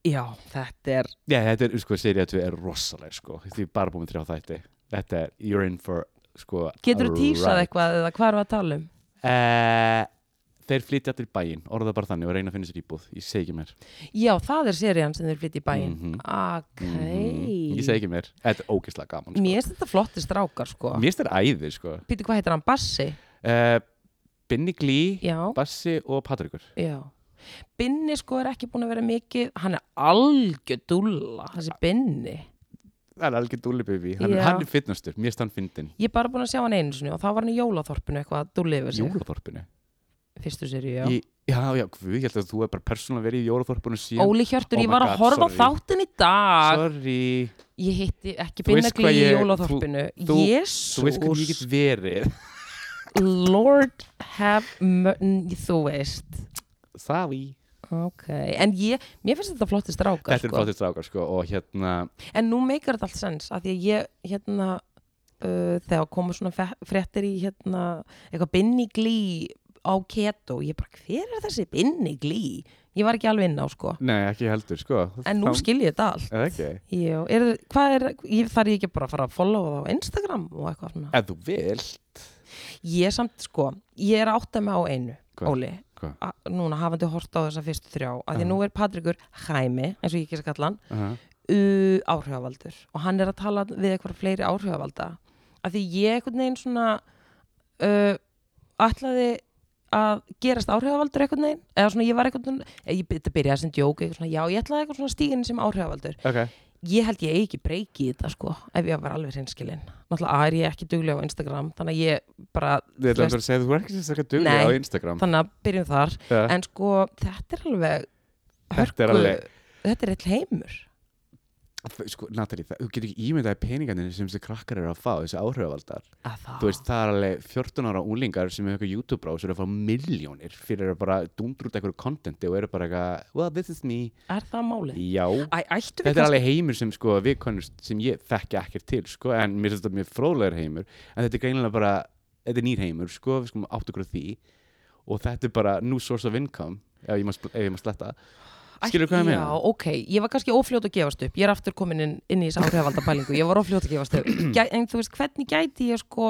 já, þetta er Já, þetta er, sko, seríu 2 er rosaleg sko því bara búin með þrjá þætti Þetta er, you're in for sko Getur þú a tísað ride. eitthvað eða hvað erum við að tala um? Eh, Þeir flytja allir í bæinn, orða bara þannig og reyna að finna sér íbúð, ég segi ekki meir Já, það er serían sem þeir flytt í bæinn Mhm. Ok Mm-hmm. Ég segi ekki mér, þetta er ógeðslega gaman sko. Mér finnst þetta flotti strákar, sko Mér finnst þetta æði sko. Býtu, hvað heitir hann? Bassi? uh, Binni Glí, Já, Bassi og Patrikur já Binni, sko, er ekki búin að vera mikið Hann er algjör dúlla, þessi Binni það er algjör dúllibibi, hann, Já. hann er fitnastur, mér stann fyndin Ég er bara búin að sjá hann einu sinni og þá var hann í jólaþorpinu eitthvað að dúlla yfir sig. Jólaþorpinu Fyrstu séri, já. Í- Já, já, guð, ég held að þú er bara persónulega verið í Jólaþorpinu síðan Óli Hjörtur, Oh ég my var að God, horfa á sorry. þáttin í dag. Sorry, Ég hitti ekki Þú veist Binnagli hvað í ég- jólaþorpinu. þú- þú- þú veist hvernig Jésús, ég get verið Lord have mercy, þú veist. Sorry Ok, en ég, mér finnst þetta flottist rákar, Þetta er sko. flottist rákar, sko, og hérna En nú meikar þetta allt sens, af því að ég, hérna, uh, þegar koma svona fe- fréttir í, hérna, eitthvað Binnagli á keto, ég bara, hver er þessi Binnagli? Ég var ekki alveg inn á, sko. Nei, ekki heldur, sko En nú skil ég þetta allt. Eða ekki Já, er, hvað er, ég, þarf ég ekki bara að fara að followa það á Instagram og eitthvað svona? Ef þú vilt Ég samt, sko, ég er átt að með á einu, Hvað? Óli, Hvað? a, núna hafandi hort á þessa fyrstu þrjá, að því Já. nú er Patrikur Hæmi, eins og ég ekki skall hann, Uh uh, áhrifavaldur og hann er að tala við eitthvað fleiri áhrifavalda, að því ég einhvern veginn svona uh, ætlaði að gerast áhrifavaldur einhvern veginn, eða svona ég var einhvern veginn, e, ég, þetta byrjaði sem djók, eitthvað svona, já, ég ætlaði eitthvað svona stíginni sem áhrifavaldur Ok ég held ég eigi ekki breyki í þetta sko ef ég var alveg hinskilin náttúrulega er ég ekki duglega á Instagram þannig að ég bara Þið ætlaðum bara að segja að þú er ekki sérstaklega duglega Nei. á Instagram þannig að byrjum þar Ja. en sko þetta er alveg Þetta er alveg- þetta er eitt heimur Þ- Sko, Natalie, það, þú getur ekki ímyndaði peningarnir sem þessi krakkar eru að fá, þessi áhrifavaldar að það Þú veist, það er alveg 14 ára úlingar sem hefur eitthvað YouTube rás og eru að fá miljónir fyrir að bara dúndur út eitthvað kontenti og eru bara eitthvað, well, this is me er það málið Já, Æ, ættu við þetta er alveg heimur sem sko við konust, sem ég þekki ekkert til, sko, en mér finnst þetta mjög fróðlegur heimur, en þetta er greinilega bara þetta er nýr heimur, sko, við skum átt okkur á því og þetta er bara new source of income, ef ég má, sl- ef ég má sletta Æ, Skilur hvað ég meina? Já, ok, ég var kannski ófljót að gefast upp ég er aftur komin inn, inn í þessu áhrifalda pælingu ég var ófljót að gefast upp Gæ, en þú veist, hvernig gæti ég sko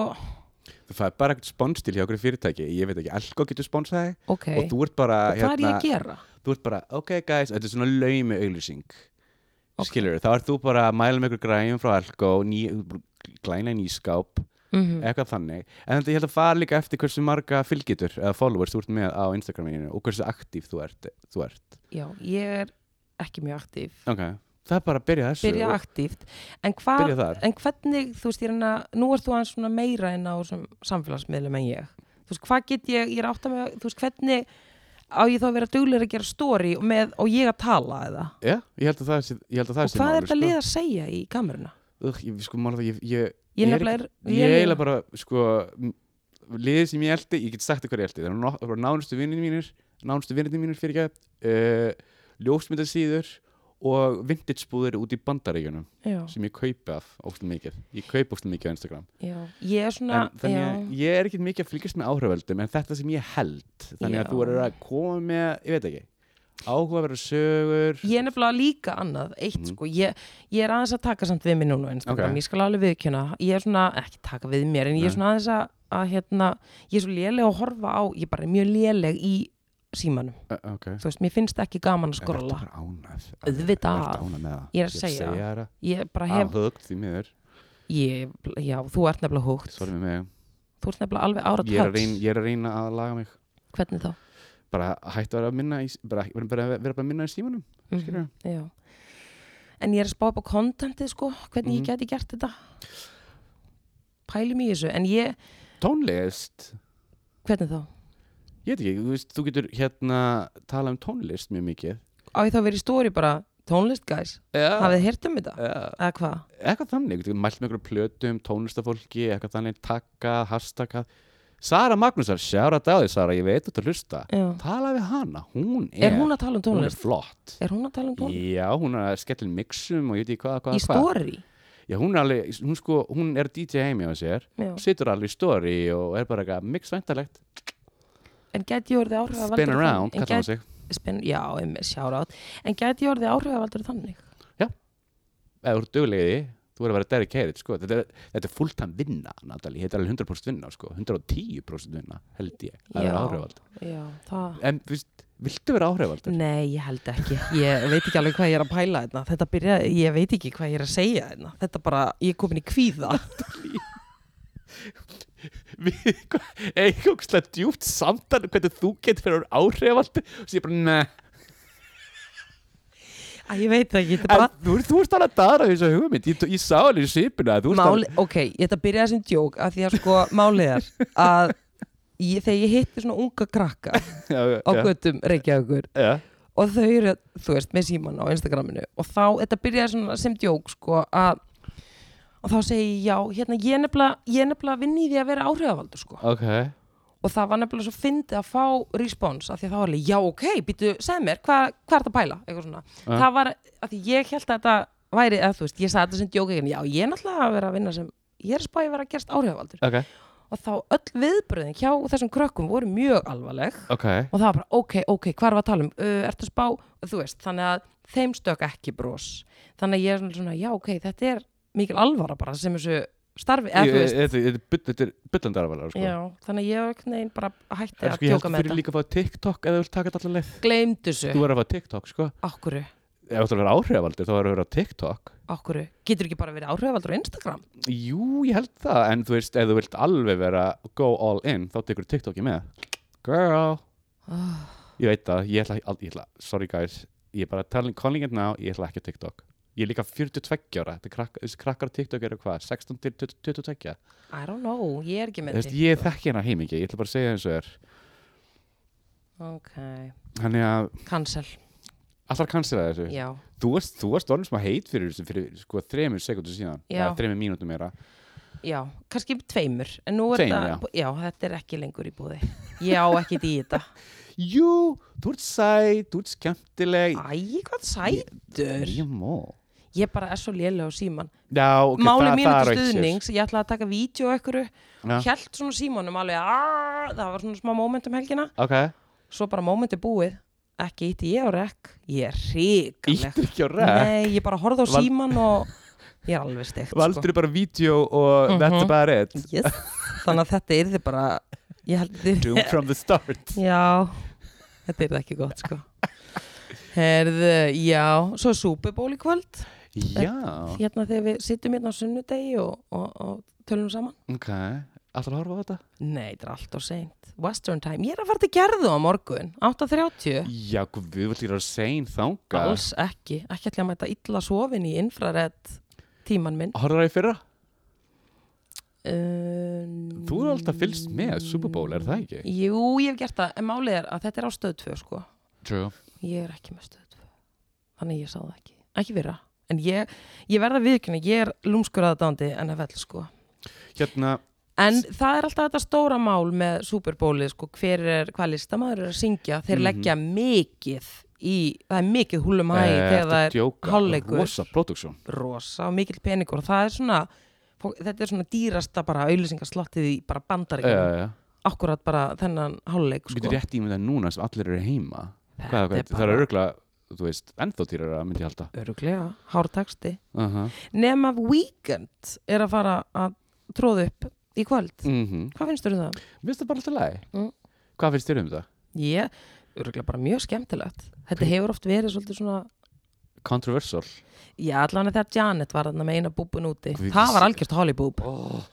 Það er bara eitthvað sponstil hjá okkur fyrirtæki, ég veit ekki, Elko getur sponsað þig ok, og þú ert bara, hérna, hvað er ég að gera? þú ert bara, ok guys, þetta er svona laumi auglýsing okay. skilur, þá ert þú bara að mæla með ykkur græjum frá Elko ný, glæna í nýskáp Mm eitthvað þannig, en þetta ég held að fara líka eftir hversu marga fylgitur eða followers þú ert með á Instagraminu og hversu aktív þú ert, þú ert. Já, ég er ekki mjög aktív ok, það er bara að byrja þessu byrja og aktíft en, hva, byrja þar, en hvernig, þú veist, ég er hérna nú ert þú aðeins svona meira en á þessum samfélagsmiðlum en ég þú veist, hvað get ég, ég er átt að með þú veist, hvernig á ég þá að vera duglega að gera story og, með, og ég að tala eða já, ég held að það sé, ég held að það og sé hvað málið, er þetta lið að segja í kameruna sko, Ugh, ég, sko, mála það, ég, ég, ég Ég er nefnilega er, ég eiginlega bara, sko m- liðið sem ég eldi, ég get sagt ykkur ég eldi það eru no- það eru nánustu vinnir mínir nánustu vinnir mínir fyrir ekki uh, ljósmyndasíður og vintage búðir út í bandaríkunum já, sem ég kaupi af óstum mikið ég kaupi óstum mikið á Instagram já, ég er svona en, þannig já, að ég er ekkert mikið að fylgjast með áhriföldum en þetta sem ég held þannig Já. að þú eru að koma með, ég veit ekki áhugaverður sögur ég er nefnilega líka annað eitt sko, ég, ég er aðeins að taka samt við mér núna á Instagram, Mhm. Ok. ég skal alveg viðkjöna ég er svona, ekki taka við mér, en ég er Nei. svona aðeins að, að hérna, ég er svo léleg að horfa á ég er bara mjög léleg í símanum uh, ok þú veist, mér finnst ekki gaman að Ertu skrolla bara ánægð? Auðvitað. Ertu ánægð með það? Ég er að segja. segja það. ég bara Ah, hef, högt því miður. ég, já, þú ert nefnilega húgt Sorry með mig. þú ert nefnilega alveg ára ég er, að tætt reyna, ég er að reyna að laga mig hvernig þá? bara að hætta að vera að minna í, bara, bara, bara, vera bara að minna í símanum Skilurðu? Mhm, já en ég er að spá upp á kontentið sko hvernig Mhm. ég geti gert þetta pælum í þessu, en ég tónlist, hvernig þá? ég veit ekki, þú, veist, þú getur hérna tala um tónlist mjög mikið á ég þá verið í stóri bara tónlist guys, ja. hafið þið heyrt um þetta? eða hvað? eitthvað þannig, þú getur mælt með einhverjum plötum tónlistafólki, eitthvað þannig, takka hashtagga, Sara Magnúsar sjára þetta á því Sara, ég veit að þetta hlusta Já. tala við hana, hún er er hún að tala um hún er tónlist? flott er hún að tala um tónlist? Já, hún er að skella inn mixum og ég veit ekki í hvað, hvað, hvað stóri? Já, hún er alveg, hún sko, hún er DJ heimi á sér Já. situr alveg í stóri og er bara eitthvað mixvæntalegt en get ég orðið áhrifavaldur spin around, en kallar hún sig get, spin, já, einmitt, sjárátt en get ég orðið áhrifavaldur þannig? eða þú ert duglegið því, þú verður að vera dedicated sko. þetta, er, þetta er fulltime vinna Natalie. þetta er alveg 100% vinna sko. 110% vinna held ég að Já. vera áhrifald já, það en þú veist, viltu vera áhrifald Nei, ég held ekki. Ég veit ekki alveg hvað ég er að pæla þetta. Þetta byrjaði, ég veit ekki hvað ég er að segja þetta. Þetta bara, ég er komin í kvíða. eitthvað djúpt samtal um hvernig þú getur verið áhrifald og sér bara ne Æ, ég veit það ekki, þetta er En bara þú, þú ert alveg að dara þessu hugmynd Ég, ég sá alveg í sipina að þú ert Máli, ok, ég ætla að byrja þessum djók af því að sko málið er að ég, þegar ég hitti svona unga krakka alveg á göttum Reykjavíkur Já, og þau eru, þú veist, með síman á Instagraminu og þá, þetta byrjaði svona sem djók sko að og þá segi ég, já, hérna, ég er nefnilega, ég er nefnilega vinn í því að vera áhrifavaldur sko ok og það var nefnilega svo fyndið að fá respons af því að það var alveg, já ok, býtu, segð mér hvað hva er þetta að pæla, eitthvað svona Ja. það var, af því ég held að þetta væri eða þú veist, ég sagði þetta sem djók ekki, en já, ég er náttúrulega að vera að vinna sem, ég er að spá ég vera að gerast áhrifavaldur Ok, og þá öll viðbröðin hjá þessum krökkum voru mjög alvarleg ok og það var bara, ok, ok, hvað er að tala um uh, ertu að spá, þú veist, þannig að þeim stök ekki bros þannig að ég er svona, svona, já, ok, þetta er mikil alvara bara sem þessu starfi, eða Ég- þú veist Þetta þetta er bull- þetta er byllandarafælar sko. já, þannig að ég var neginn bara hætti En að sko, ég held djóka að með fyrir þetta líka að fá TikTok eða þú vilt taka þetta allar leið gleymd þessu, Þú verður að fá TikTok, sko ákvöru, Ef þú ætlar að vera áhrifavaldur, þá verður að vera á TikTok ákvöru getur ekki bara verið áhrifavaldur á Instagram Jú, ég held það, en þú veist, ef þú vilt alveg vera go all in, þá tekur TikTok í með Girl oh, Ég veit það, ég ætla, al- ég ætla sorry guys, ég er bara telling, calling it now, ég ætla ekki á TikTok. Ég er líka 42 ára, þetta er krakk, þessi krakkar á TikTok eru hvað, 16 til 20 22? I don't know, ég er ekki Þú með veist, ég þekki hennar heimingi, ég ætla bara að segja eins og er. ok, Þannig að, cancel, allar kannski það þessu. já Þú varst, þú varst orðin smá heit fyrir þessu fyrir sko þremur sekundur síðan, Já. eða þremur mínútum meira. Já, kannski tveimur En nú er Tveimur, þetta, já. þetta er ekki lengur í búði Já, ekki í þetta Jú, þú ert sæt, þú ert skemmtileg. Æ, hvað sætur Ég mó. Ég bara er svo lélega á síman Já, ok, Máli það, mínu það er til ekki sér. stuðnings, ég ætlaði að taka vídeo ykkur Já. Hjælt svona símanum alveg "Ah", Það var svona smá moment um helgina Ok, Svo bara moment er búið Ekki ítti ég á rekk Ég er ríkaleg íttir ekki á ræk. Nei, ég bara horfði á Val- síman og Ég er alveg steikt Valdur bara vídeo og Mhm. þetta er bara rétt. sko. yes. Þannig að þetta yrði bara Ég held Doomed þið from the start Já, þetta er ekki gott sko Herðu, já, svo er Super Bowl í kvöld Já, hérna þegar við sittum hérna á sunnudegi og, og, og tölum saman ok Alltaf að horfa á þetta? Nei, þetta er allt og seint Western time, ég er að fara til gerðu á morgun 8.30 Já, guð, við viljum að segja þanga Alls ekki, ekki ætla að mæta illa sofin í infrarætt tíman minn Horfður það í fyrra? um, Þú er alltaf fylgst með Super Bowl, er það ekki? Jú, ég hef gert það, en málið er að þetta er á stöð 2 sko True ég er ekki með stöð 2 þannig ég sá það ekki, ekki vera en ég, ég verða viðkynna, ég er lúmskur aðdándi NFL sko Hérna, en það er alltaf þetta stóra mál með Superbólið sko, hver er, hvað listamaður er að syngja þeir Mhm. leggja mikið í, það er mikið húlum hæ eh, þegar það er hálfleikur. Rosa production rosa og mikill peningur og það er svona fó- þetta er svona dýrasta bara auðlýsingaslottið í bara bandaríkjum, uh, akkurat bara þennan háluleik Sko sko. getur rétt ímynda núna sem allir eru heima Þetta Hvað, er hvað, Það bara- er örgla, þú veist, ennþá týrar að myndi ég halda öruglega, hártaksti uh -huh. nema Weekend er að fara að tróða upp í kvöld mm -hmm. hvað finnst þér um það? Vist það bara alltaf læg? Mm. Hvað finnst þér um það? Ég, öruglega bara mjög skemmtilegt þetta hefur oft verið svolítið svona Controversial já, allan að þegar Janet var þarna með eina búbun úti Guð, það var ég- algjört holibúb oh.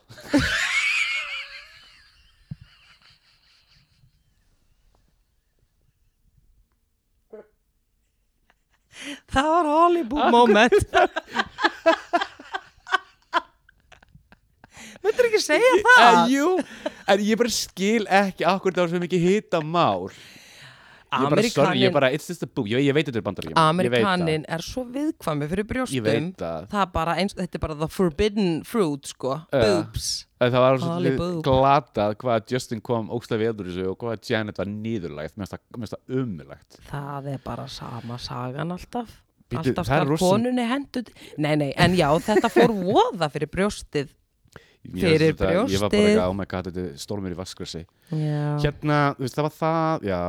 það var holibúb moment myndur ekki segja það En jú, en ég bara skil ekki akkur það var svo mikið hita mál Ég bara, sorry, ég bara, it's just a boob Ég, ég veit þetta er bandaríkjum Amerikanin er svo viðkvæmi fyrir brjóstum Ég veit það það er bara eins, þetta er bara the forbidden fruit sko, Ja. boobs En Það var Holy svolítið boob. glatað hvað Justin kom ógstlega við eður þessu og hvað Janet var nýðurlægt Mér finnst það umlægt Það er bara sama sagan alltaf Bíddu, Alltaf það er skal rosa- konunni hendut Nei, nei, en já, þetta fór voða fyrir brjóstið Fyrir Ég var bara brjóstið. ekki, oh my god, þetta er stólmur í vaskrasi Já, Hérna, þú veist, það var það, já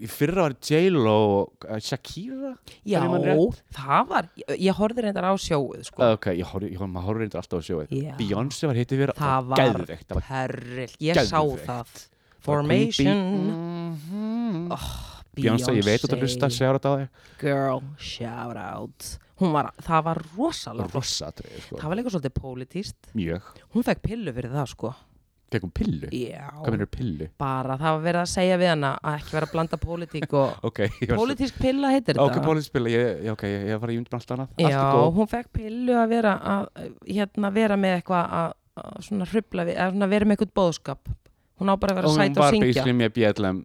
Í fyrra var J-Lo og eh, Shakira já ef ég man rétt. það var Ég, ég horfði reyndar á sjóið, sko Ah, Ok, ég horfði, ég horfði, maður horfði reyndar alltaf á sjóið Já. Beyoncé var hitti vera, Það var geðveikt, það var Perrill, ég geðveikt. sá það Formation Oh, mm Bjónsa, Beyoncé, ég veit að þú hlusta, segjur þetta á þig Girl, shout out Hún var, það var rosalega Rossa atriði, sko, Það var líka svolítið pólitíst mjög Hún fekk pillu fyrir það, sko Gekkun pillu? Hvað já, minnur pillu? bara það var verið að segja við hana að ekki vera að blanda pólitík og Ok, ég var pólitísk pilla heitir svo Ok, þetta pólitísk pilla, ég, já, ok, ég, ég var í undir allt annað Allt já, er góð hún fekk pillu að vera að, hérna, vera með eitthvað að, að svona hrubla við, eða svona vera með eitthvað bóðskap hún á bara að vera Og hún sæt og var syngja basically með BLM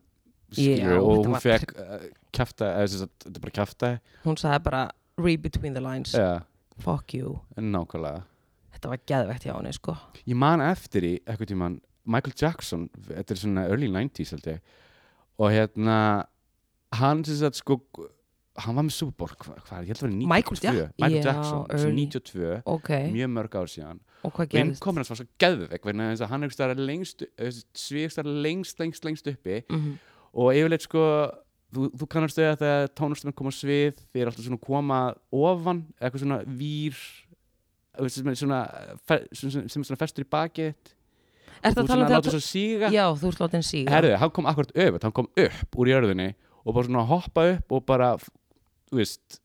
skilur, Já, og þetta hún var fekk uh, kjafta, eða sem sagt, þetta er bara kjafta hún sagði bara read between the lines Já, fuck you, nákvæmlega þetta var geðvegt hjá henni sko Ég man eftir í eitthvað tíman Michael Jackson, þetta er svona early 90s held ég og hérna hann sem sagt sko hann var með Superborg, hvað, hvað er, ég held að vera 92 Michael Ja- Michael já, Jackson, sem early. 92 ok, mjög mörg ár síðan og hvað gerist vinkomin hans var svo geðveik vegna þess að hann einhvers staðar lengst svíkst þar lengst, lengst, lengst uppi Mhm. og yfirleitt sko þú, þú kannast þau að þegar tónlistumenn koma á svið þeir eru alltaf svona að koma ofan eða eitthvað svona vír þú veist, sem er svona, fe- sem, sem, sem er svona festur í bakið er það að þú tala um svona þetta láta svo síga já, þú ert látin síga herðu, hann kom akkurat öfut, hann kom upp úr jörðinni og bara svona hoppa upp og bara þú veist,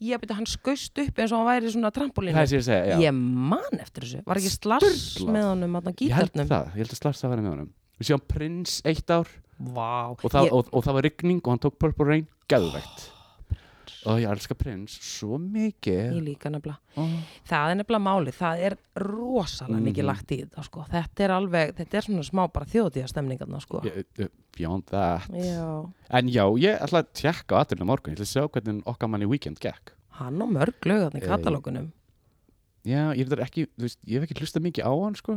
ég byrja hann skaust upp eins og hann væri svona trampolínu það er sér að segja já. ég man eftir þessu, var ekki slass Sturlað. með honum að ég held gítarnum það, ég held að slarst að vera með honum við séum prins eitt ár Vá. og það, Ég- og, og það var rigning og hann tók Purple Rain gæðvægt og ég elska prins svo mikið Ég líka nefnilega. oh. Það er nefnilega málið, það er rosalega mikið Mhm. lagt í þetta sko. Þetta er alveg, þetta er svona smá bara þjóðtíða stemningarna sko. Ég- ég- beyond that Já. en já, ég ætla að tjekka á aðurinn á morgun ég ætla að sjá hvernig okkar mann í weekend gekk Hann á mörg lögarni í Eh, katalókunum. já, ég, reyndar ekki, þú veist, ég hef ekki hlusta mikið á hann sko.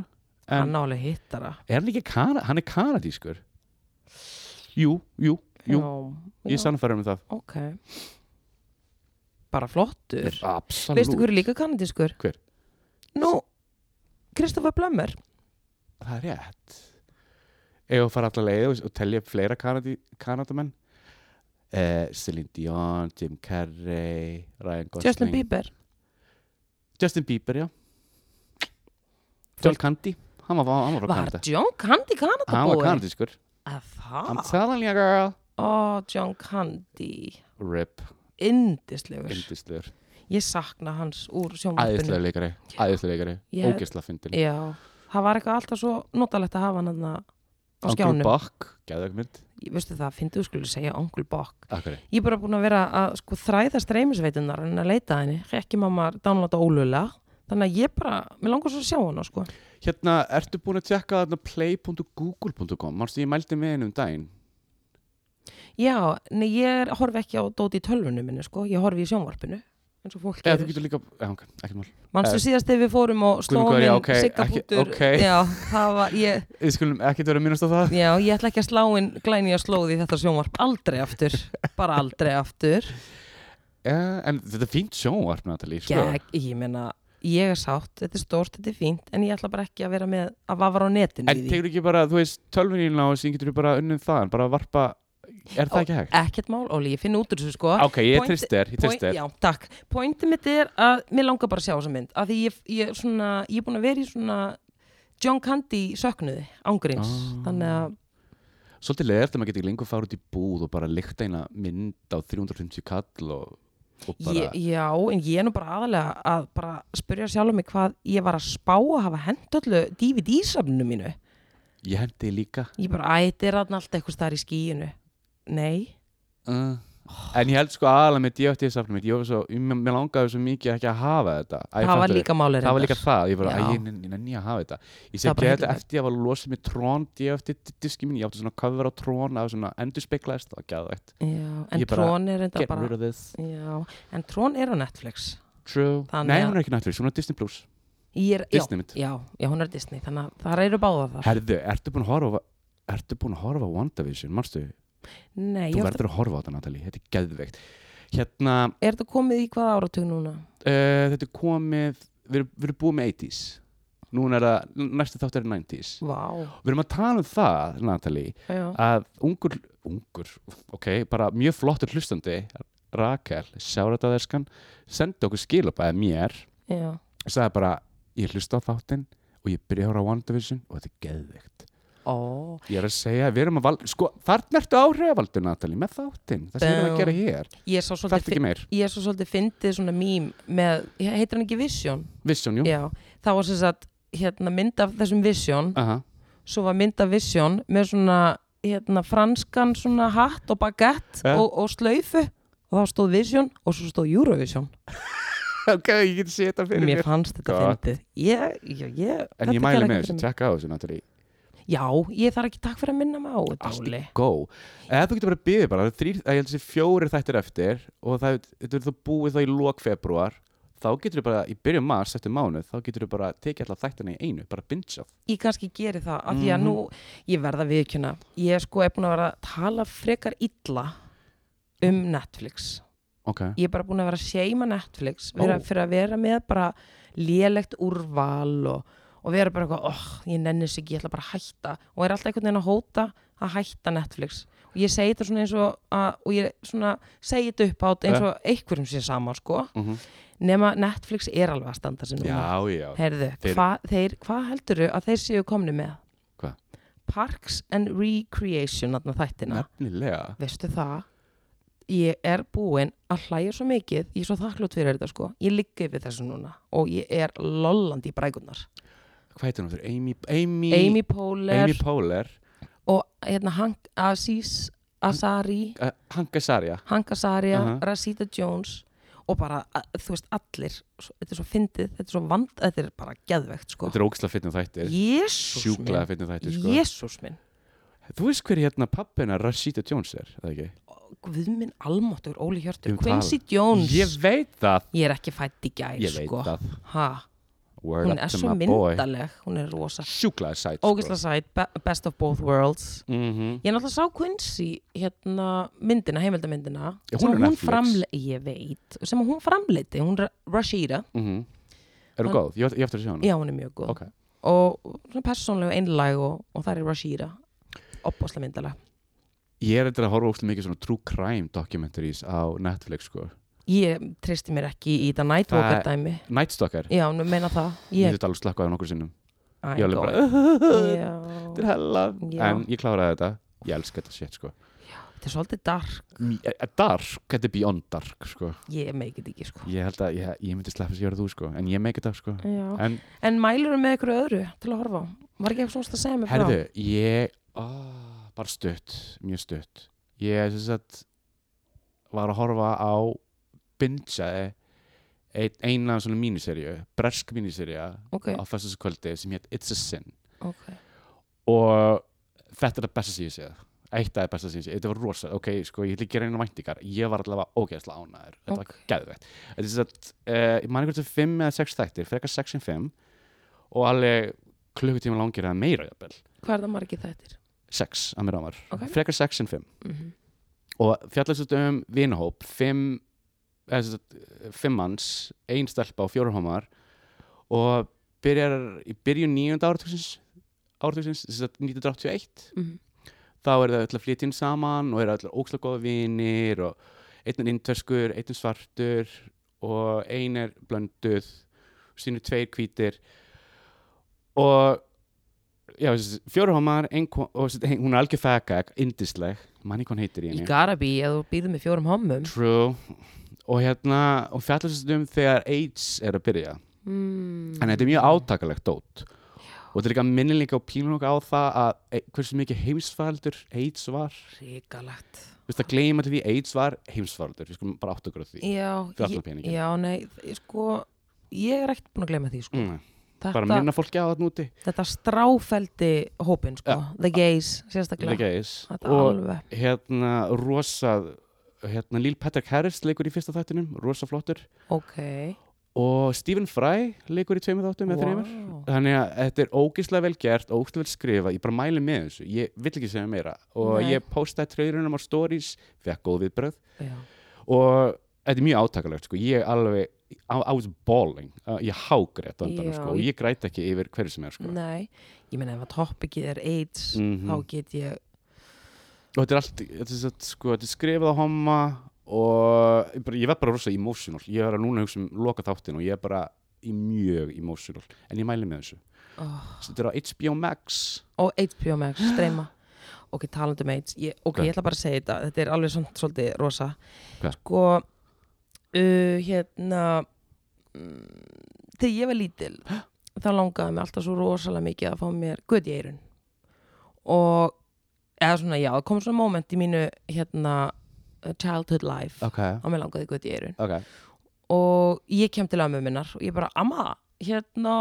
en Hann á alveg hittara. er hann ekki kana, hann er kanadískur jú, jú, jú Já, ég já, sannfæra um það ok. Bara flottur. Veistu absolutt, hver er líka kanadískur? Hver? Nú, Kristoffer Blömmur. það er rétt ef að fara allar leið og, og telja upp fleira Kanadi, kanadamenn uh, Celine Dion, Jim Carrey Ryan Gosling Justin Bieber. Justin Bieber, já John Candy, hann var, hann var frá Var Kanada John Candy hann var kanadabúi? kanadískur Að I'm það? telling you girl Ó, John Candy. Rip, Indislegur. yndislegur, Ég sakna hans úr sjónvarpinu. æðislegur leikari æðislegur leikari, Ég- ógisla fyndin Já, það var eitthvað alltaf svo notalegt að hafa hann þarna á Uncle skjánum. Buck, gæðveg mynd Ég veistu það, fyndið þú skulle segja Uncle Buck. Akkari. Ég er bara búin að vera að sko þræða streymisveitunar en að leita að henni. Ekki mamma dánláta ólulega. Þannig að ég bara, mér langar svo að sjá hana sko. Hérna, ertu búin að tjekka þarna play.google.com, mannstu ég mældi með henni um daginn Já, nei, ég er- horfi ekki á dóti í tölvunum minni sko. Ég horfi í sjónvarpinu. En svo fólk Eða þú gerir. getur líka, já, ok, ekkert mál Manstu síðast þegar við fórum og Guð minn slóum góður, inn já, okay, ok, ekki- siggapútur. ok. Já, það var, ég, Við skulum ekkert vera að minnast á það já, ég ætla ekki að slá inn glæni að slóði þetta sjónvarp aldrei aftur. Bara aldrei aftur. ja, En þetta er fínt sjónvarp, Natalie sko. Gegg, ég meina, ég er sátt, þetta er stórt, þetta er fínt, en ég ætla bara ekki að vera með að vafra á netinu En í því. tegur ekki bara, þú veist, tölvunina og síðan getur þú bara unnum þaðan, bara varpa Er það Ó, ekki hægt? Ekkert mál, Óli, ég finn út úr þessu sko. Ok, ég point- trist þér, ég trist Point- þér já, takk. Pointið mitt er að mér langar bara að sjá þessa mynd, að því ég, ég, svona, ég er búin að vera í svona John Candy söknuði, ángríns, Ah. þannig að Svolítið leðert að maður getur ekki lengur fara út í búð og bara lykta eina mynd á 350 kall og, og bara ég, já, en ég er nú bara aðalega að bara spyrja sjálf mig hvað ég var að spá að hafa hent öllu DVD-safninu mínu. Ég hendi líka Ég bara, æ, þetta er þarna allt eitthvað staðar í skíinu. Nei. uh. En ég held sko aðalega með DFT-safnum mitt, ég var svo, mér mér langaði svo mikið ekki að hafa þetta Æ, það var fattarðu? líka málið það var reyndar. líka það, ég bara, Já. að ég nenni- nenni að hafa þetta ég sé Það er bara ekki þetta hellulegt. eftir ég var að losa mig trón DFT diski mín, ég átti svona cover á trón að svona endur speiklaðist, það var gæðvægt Já, en Ég bara, Trón er enda get rid bara of this, já, En Trón er á Netflix true Þannig nei, að- hún er ekki Netflix, hún er Disney Plus Ég er, já, Disney mitt, já, já, hún er Disney Þannig að það eru báða þar herðu, ertu búin að horfa ertu búin að horfa á WandaVision, marstu Nei, ég, þú verður... verður að horfa á þetta, Natalie, þetta er gæðvægt hérna, Er þetta komið í hvaða áratug núna? uh, þetta er komið við erum, við erum búið með 80s núna er það, næstu þáttur er 90s Vá, við erum að tala um það, Natalie já, að ungur, ungur ok, bara mjög flottur hlustandi Rakel, sjáratæðarskan sendi okkur skilabæði mér já og sagði bara, ég hlusta á þáttinn og ég byrja að horfa á WandaVision og þetta er geðvikt Ó, ég er að segja, við erum að val sko, þarna ertu áhrifavaldur Natalie, með þáttinn það sem við erum að gera hér, ég sá svolítið þarf ekki meir fi- Ég svo svolítið fyndið svona mím með, heitir hann ekki Vision? Vision, jú, Ah. Já, það var sem sagt hérna mynd af þessum Vision aha, svo var mynda Vision með svona hérna, franskan svona hatt og bagett Ja. og, og slaufu og þá stóð Vision og svo stóð Eurovision ok, ég get séð þetta fyrir mér mér fannst þetta Gott. fyndið ég, ég, ég, en ég þetta gerði mæli með ekki þessu, fyrir mig. tjekka á þessu náttúrulega já, ég þarf ekki takk fyrir að minna mig á þetta Allt Óli. í gó eða þú getur bara að byggja bara, það er þrír, að ég held að sé fjórir þættir eftir og það, þetta er þú búið þá í lók februar þá getur þú bara, í byrjun mars eftir mánuð þá getur þú bara tekið alltaf þættina í einu bara binge af ég kannski geri það af því Mhm. að nú, ég verða viðkjöna ég sko er búin að vera að tala frekar illa um Netflix ok, ég er bara búin að vera að seima Netflix vera, Ó. fyrir að vera með bara lélegt úrval og, og vera bara eitthvað, oh, ég nenni sig ekki, ég ætla bara að hætta og er alltaf einhvern veginn að hóta að hætta Netflix og ég segi þetta svona eins og að, og ég svona segi þetta upp átt eins og einhverjum sé sama sko Mhm. nema Netflix er alveg að standa sér núna já, já Herðu, Þeir- hvað þeir... hva heldurðu að þeir séu komni með? Hvað? Parks and Recreation, þarna þættina nefnilega veistu það ég er búin að hlæja svo mikið ég er svo þakklátt fyrir þetta sko ég liggi yfir þessu núna og ég er lollandi í brækunar hvað heitir hún aftur? Amy, Amy, Amy Poehler Amy Poehler og hérna Hank Aziz Asari uh, Hanka Sarja Hank Azaria, Aha. Rasita Jones og bara, að- þú veist, allir svo- þetta er svo fyndið, þetta er svo vand þetta er bara geðvegt sko þetta er ógislega fyndin þættir Jésús sjúklega minn fyndin þættir sko. Jésús minn þú veist hver hérna pappina Rashida Jones er eða ekki? Guðminn Almáttur, Óli Hjörtur Um Quincy Jones, ég veit það ég er ekki fætt í gær ég veit sko. það Ha? Word hún up er to svo my boy. myndaleg hún er rosa, sko. sjúklega sæt ógislega sæt be- best of both worlds mm -hmm. ég náttúrulega sá Quincy hérna myndina, heimildamyndina Já, hún sem er hún Netflix. framle- ég veit, sem hún framleiti hún er Rashida, er Hann- hún mhm. góð? ég ég eftir að sjá hana já hún er mjög góð Mm. ok og svona persónlega einlæg og, og það er Rashida opbáslega myndaleg Ég er eitthvað að horfa óslega mikið svona true crime documentaries á Netflix sko ég tristi mér ekki í þetta Nightwalker Það- dæmi Night Stalker, já, nú meina það ég ég, þetta alveg slakka á það nokkur sinnum Æ, Ég var alveg góð. bara, Já. þetta er hella Já. En ég kláraði þetta, ég elska þetta shit sko þetta er svolítið dark, M- eh, eh, Dark, þetta er beyond dark sko ég meikið ekki sko Ég held að, ég, ég myndi sleppa sér að gera þú sko En ég make it up sko já En En mælur með ykkur öðru til að horfa á? Var ekki eitthvað svona að segja mig frá? herðu, ég, ó, bara stutt, mjög stutt Ég sem sagt var að horfa á bingeaði ein, eina svona míniserju, bresk míniserja Ok, á fæstaskvöldi sem hétt It's a Sin ok. og þetta er það besta sem ég séð eitt af það besta sem ég séð, þetta var rosa ok, sko, ég ætla ekki að reyna væntingar ég var allavega ógeðslega ánæður þetta Ok. var geðveitt þetta er satt, uh, ég man einhvern veginn fimm eða sex þættir, frekar sex en fimm og alveg klukkutíma langir eða meira jafnvel, Hvað er það margið þættir? sex að mér ámar Ok. frekar sex en fimm Mm -hmm. og fjallast þetta um vinahóp fimm, eða, sem sagt, fimm manns, ein stelpa og fjóra homar og byrjar í byrjun nýjunda áratugsins áratugsins, þess að 1981 mhm. þá er það öll að flytja inn saman og eru öll ókslega góða vinir og einn er indverskur, einn er svartur og ein er blönduð sínur tveir hvítir og já, þessi, fjóru homar ein, ko- og þessi, ein, hún er algjör fækak, indisleg manni hvað hún heitir í Í henni Garabi, eða þú býður með fjórum hommum. True og hérna, og fjallast um þegar AIDS er að byrja Mm. en þetta er mjög átakalegt dót og þetta er líka minnilega og pínur nokkuð á það að e, hversu mikið heimsfældur AIDS var Ríkalagt. Þú veist að gleyma til því AIDS var heimsfaraldur, við skulum bara átta okkur á því. Já, Fyrir allan ég- peninginn. já, nei, ég- sko, ég er ekkert búin að gleyma því, sko. Mm. Bara Þetta, minna fólki á þarna úti. þetta stráfeldi hópin, sko. The gays, sérstaklega. Þetta geis. Þetta Og alveg. hérna rosa, hérna Lil Patrick Harris leikur í fyrsta þættinum, rosa flottur. Ok. Og Stephen Fry leikur í tveimur þáttum eða þreimur. Vá. Þannig að þetta er ógeðslega vel gert, ógeðslega vel skrifað, ég bara mæli með þessu, ég vill ekki segja meira. Og Nei. ég postaði tröðurinnum á stories, fekk góð viðbröð. Já. og þetta er mjög átakalegt sko. ég alveg, I, I was bawling uh, ég hágrét á endanum Já, sko. og ég græt ekki yfir hverju sem er sko. Nei, ég meina ef að toppikið er AIDS, Mhm. þá get ég, og þetta er allt þetta er, satt, sko, þetta er skrifað á homma og ég bara- ég verð bara rosa emotional ég er að núna hugsa um loka þáttin og ég er bara í mjög emotional en ég mæli með þessu oh. Svo þetta er á HBO Max og HBO Max, streyma ok, talandi um AIDS ég, ok, Hvað? ég ætla bara að segja þetta, þetta er alveg svona svolítið rosa Hvað? sko uh, hérna mm, þegar ég var lítil þá langaði mig alltaf svo rosalega mikið að fá mér gutt í eirun og eða svona já, það kom svona moment í mínu hérna uh, childhood life ok, að mér langaði gutt í eirun ok og ég kem til ömmu minnar og ég bara, amma, hérna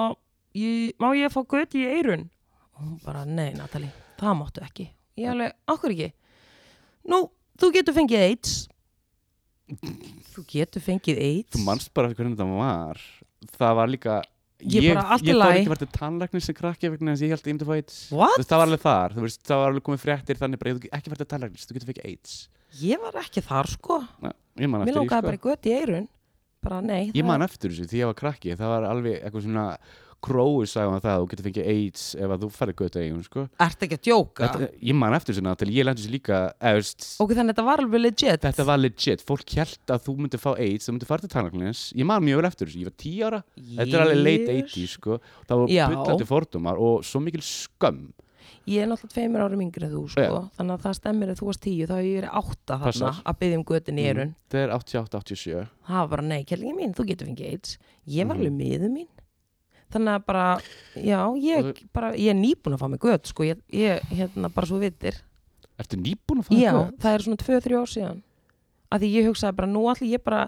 ég, má ég fá gutt í eirun og hún bara, nei Natalie, það máttu ekki ég alveg, okkur ekki nú, þú getur fengið AIDS þú getur fengið AIDS þú manst bara hvernig þetta var það var líka Ég bara, allt í ég lagi. ekki verið til tannlæknir sem krakki vegna þess að ég held að ég myndi að fá AIDS What? Þú veist, það var alveg þar, þú veist, það var alveg komið fréttir þannig bara, ég þú ekki verið til tannlæknir, þú getur fekk AIDS ég var ekki þar sko Na, ég man mér eftir því, langaði sko. bara í gutt í eirun bara, nei, ég það- man eftir þessu, því ég var krakki það var alveg eitthvað svona krói sagði hann það, að þú getur fengið AIDS ef að þú ferði götu eigin, sko Ertu ekki að djóka? þetta, ég man eftir þessu náttúrulega, ég lendi þessu líka eða, veist, Ah. Ok, þannig að þetta var alveg legit þetta var legit, fólk held að þú myndi fá AIDS, þú myndi fara til tannlæknins ég man mjög vel eftir þessu, ég var 10 ára Þetta er alveg late 80s sko Það voru Já. byllandi fordómar og svo mikil skömm Ég er náttúrulega tveimur árum yngri en þú sko Þannig að það stemmir að þú varst tíu Þá hef ég verið átta þarna Passar. að byggja um götin í erun Mm. Þetta er 88-87 Það var bara nei, kellingi mín, þú getur fengið AIDS Ég var alveg miður mín Þannig að bara, já, ég, bara, ég er nýbúin að fá mig göt sko. ég, ég, hérna, bara svo vitir Ertu nýbúin að fara Já, það er svona 2-3 ár síðan að því ég hugsaði bara, nú allir ég bara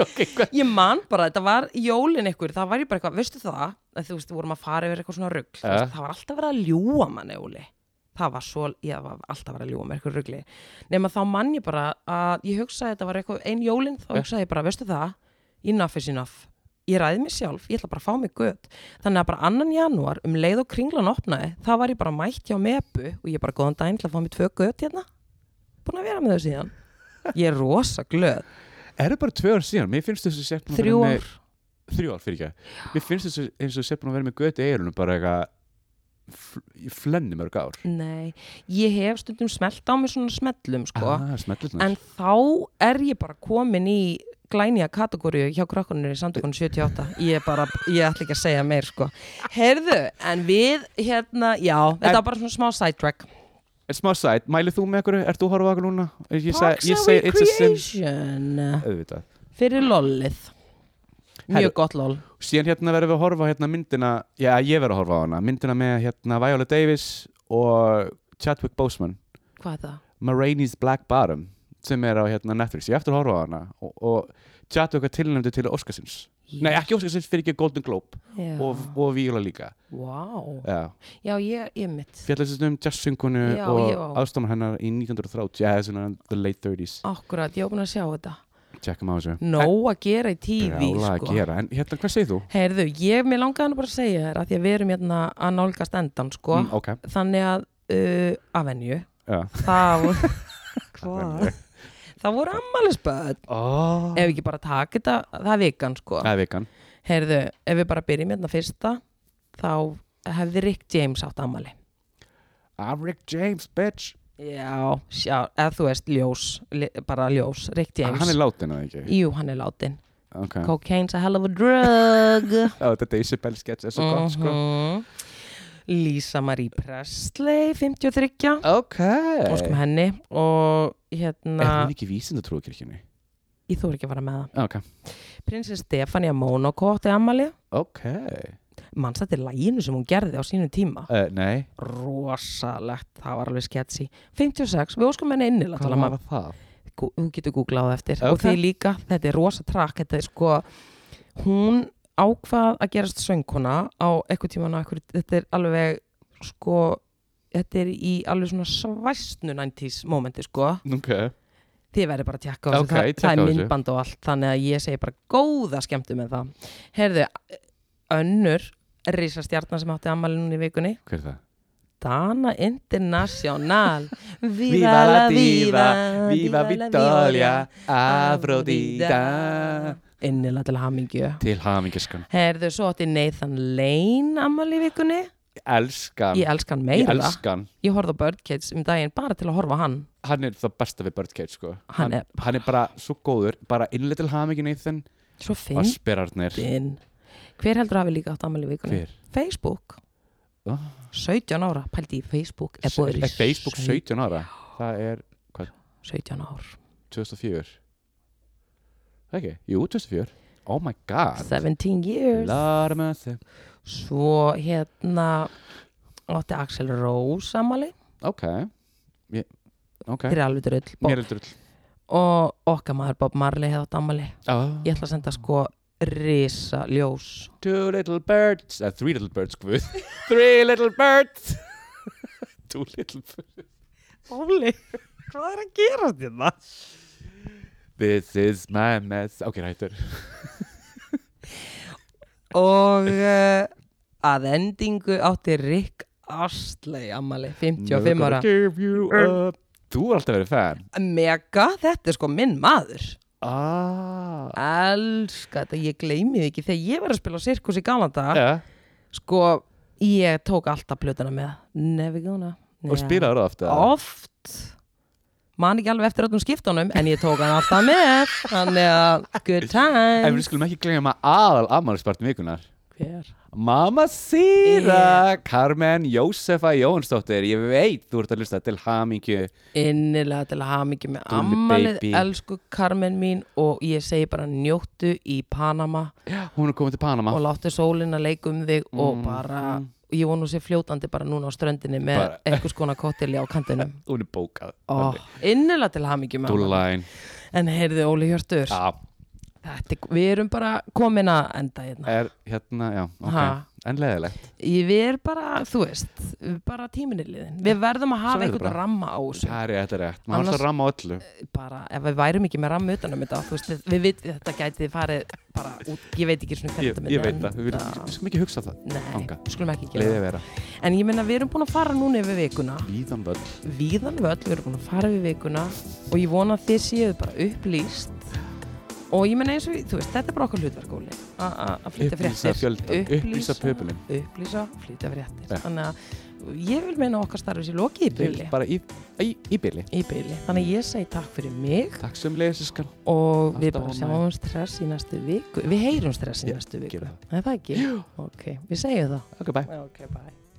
okay, ég man bara, þetta var jólin ykkur það var ég bara eitthvað, veistu það að þú veist, við vorum að fara yfir eitthvað svona rugg Ja. það var alltaf verið að ljúa manni, Óli það var svo, ég var alltaf verið að ljúa með eitthvað ruggli nema þá mann ég bara að ég hugsaði þetta var eitthvað, ein jólin þá Ja. hugsaði ég bara, veistu það, enough is enough ég ræði mig sjálf, ég ætla bara að fá mig gött þannig að bara annan janúar um leið og kringlan opnaði, þá var ég bara mætt hjá mebu og ég bara góðan daginn til að fá mig tvö gött hérna, búin að vera með þau síðan ég er rosa glöð Er það bara tvö ár síðan? Mér finnst þessu sett búin að þrjú ár vera með Þrjú ár fyrir ekki Mér finnst þessu eins og sett búin að vera með göti eirunum bara eitthvað fl- Ég flenni mörg ár Nei, ég hef stundum smelt á mig svona smellum sko, ah, Smetlirnar en þá er ég bara komin í glænýja kategóriu hjá krakkunir í samtökunum 78 ég er bara, ég ætla ekki að segja meir sko heyrðu, en við hérna, já, þetta En- var bara svona smá sidetrack En smá sæt, mælið þú með einhverju? Ert þú að horfa á okkur núna? Ég, seg- Parks ég and seg it's a sin- Recreation eh, Auðvitað fyrir lollið Heyrðu. mjög gott loll síðan hérna verðum við að horfa á hérna myndina já, ég verð að horfa á hana, myndina með hérna Viola Davis og Chadwick Boseman, hvað er það? Ma Rainey's Black Bottom sem er á hérna Netflix, ég á eftir að horfa á hana og, og Chadwick er tilnæmdu til Óskarsins, nei ekki Óskarsins fyrir ekki Golden Globe Já. og, og Viola líka Vá. já, já, ég, ég mitt fjallastum um jazzsynkunu Já, já. og ástámar hennar í 1930 já, svona the late 30s, akkurat, ég er búin að sjá þetta tjekkum á þessu nóg að gera í tífi Brjála að sko gera, en hérna hvað segir þú? Heyrðu, ég, mér langaði nú bara að segja þér að því að við erum hérna að nálgast endan, sko. Mm, ok, Þannig að, uh, að venju, já þá, hvað? það voru ammælisböð. Oh. Ef við ekki bara taka þetta, það er vikan, sko. Það er vikan Heyrðu, ef við bara byrjum hérna fyrsta, þá hefði Rick James átt ammæli. I'm Rick James, bitch Já, sjá, eða þú veist, ljós, li, bara ljós, Rick James. Ah, Hann er látin að ekki Jú, hann er látin. okay. Cocaine's a hell of a drug. Já, þetta Isabel sketch er svo gott sko Mhm. Lisa Marie Presley 53 Ok óskum henni og Er hérna það ekki vísind að trúa kirkjunni? ég þú er ekki að fara með það Ah, Ok prinsess Stefania Monaco átti ammali Ok manns þetta er læginu sem hún gerði á sínum tíma uh, Nei rosalegt, það var alveg sketsi 56, við óskum henni innilega Hvað tala var maður, það? Gú- þú getur googlað á eftir Ok. og því líka, þetta er rosa trakk þetta er sko, hún ákvað að gerast söngkona á eitthvað tíman á eitthvað, þetta er alveg sko, þetta er í alveg svona svæstnu 90s momenti sko, Ok þið verður bara að tjekka á þessu, Ok, það, tjekka það á er þessu. myndband og allt þannig að ég segi bara góða skemmtu með það heyrðu, önnur risastjarnar sem átti ammæli núna í vikunni Hver er það? Dana International Viva la diva Viva Vitoria Afrodita innilega til hamingju Til hamingiskan heyrðu, svo átti Nathan Lane ammæli í vikunni Elskan ég elskan Ég meira elskan ég horfði á Bird Kids um daginn bara til að horfa á hann Hann er það besta við Bird Cage sko Hann er- hann er bara svo góður Bara innlega til hamingin í þinn svo fyndin Asperarnir hver heldur að hafi líka átt ammæli í vikunni? Hver? Facebook Ah. 17 ára, pældi í Facebook er Er búið í Facebook 17 ára Það er 17 ár 2004 Það ekki? Jú, 2004 Oh my god 17 years Lord of mercy svo hérna og átti Axel Rose samali ok ég, ok, þeir eru alveg drull Bob. mér er drull og okkar maður Bob Marley hefði átt ammali oh. ég ætla að senda sko risa ljós two little birds uh, three little birds, guð three little birds two little birds Óli, hvað er að hérna? gera þetta? this is my mess ok, hættur og uh, að endingu átti Rick Astley ammali, 55 ára give you up þú er alltaf verið fan mega, þetta er sko minn maður ah elska þetta, ég gleymi því ekki þegar ég var að spila á sirkus í gamla dag yeah. sko, ég tók alltaf plötuna með nefi góna og spilaður það ofta oft man ekki alveg eftir öllum skiptunum en ég tók hann alltaf með þannig að good en time við skulum ekki glemja aðal afmælispartin vikunar hver? Mamma Sýra, Carmen Jósefa Jónsdóttir, ég veit þú ert að lusta til hamingju innilega til að hafa mikið með Dulli ammalið baby. elsku Carmen mín og ég segi bara njóttu í Panama hún er komin til Panama og láttu sólin að leika um þig og Ah. Mm. bara ég vonu sér fljótandi bara núna á ströndinni með Bara- einhvers konar kottilja á kantinum hún er bókað oh, innilega til hamingju með hana Dúllæn en heyrðu Óli Hjörtur ja, þetta, er- við erum bara komin að enda hérna er hérna, já, ok Ha. en leðilegt, Ég- við erum bara, þú veist bara tíminni liðin, við verðum að hafa Svo er það einhvern bara. ramma á þessu það er rétt, er rétt maður Annars- Annars... að ramma á öllu bara, ef við værum ekki með ramma utanum þetta, þú veist, við- við veit, þetta gæti farið bara út, ég veit ekki svona ég, hvernig ég veit það, við viljum- við skulum ekki hugsa það Nei, Þangað. við skulum ekki gera leiði það. vera, En ég meina, við erum búin að fara núna yfir vikuna víðan völl Víðan við öll, við erum búin að fara yfir vikuna Og ég vona að þið séu bara upplýst Og ég meina eins og, þú veist, þetta er bara okkar hlutverkóli Að flytja upplýsa fréttir fjöldan, upplýsa pöpulin Upplýsa, flytja fréttir Já. Þannig að ég vil meina að okkar starfið sér lokið í byli bara í, í, í byli Í byli, þannig að ég segi takk fyrir mig takk sem leiðisiskan og við Alltaf bara ánægja. sjáum stress í næstu viku við heyrum stress í Já, næstu viku gerum er það ekki? ok, við segjum það ok, bye ok, bye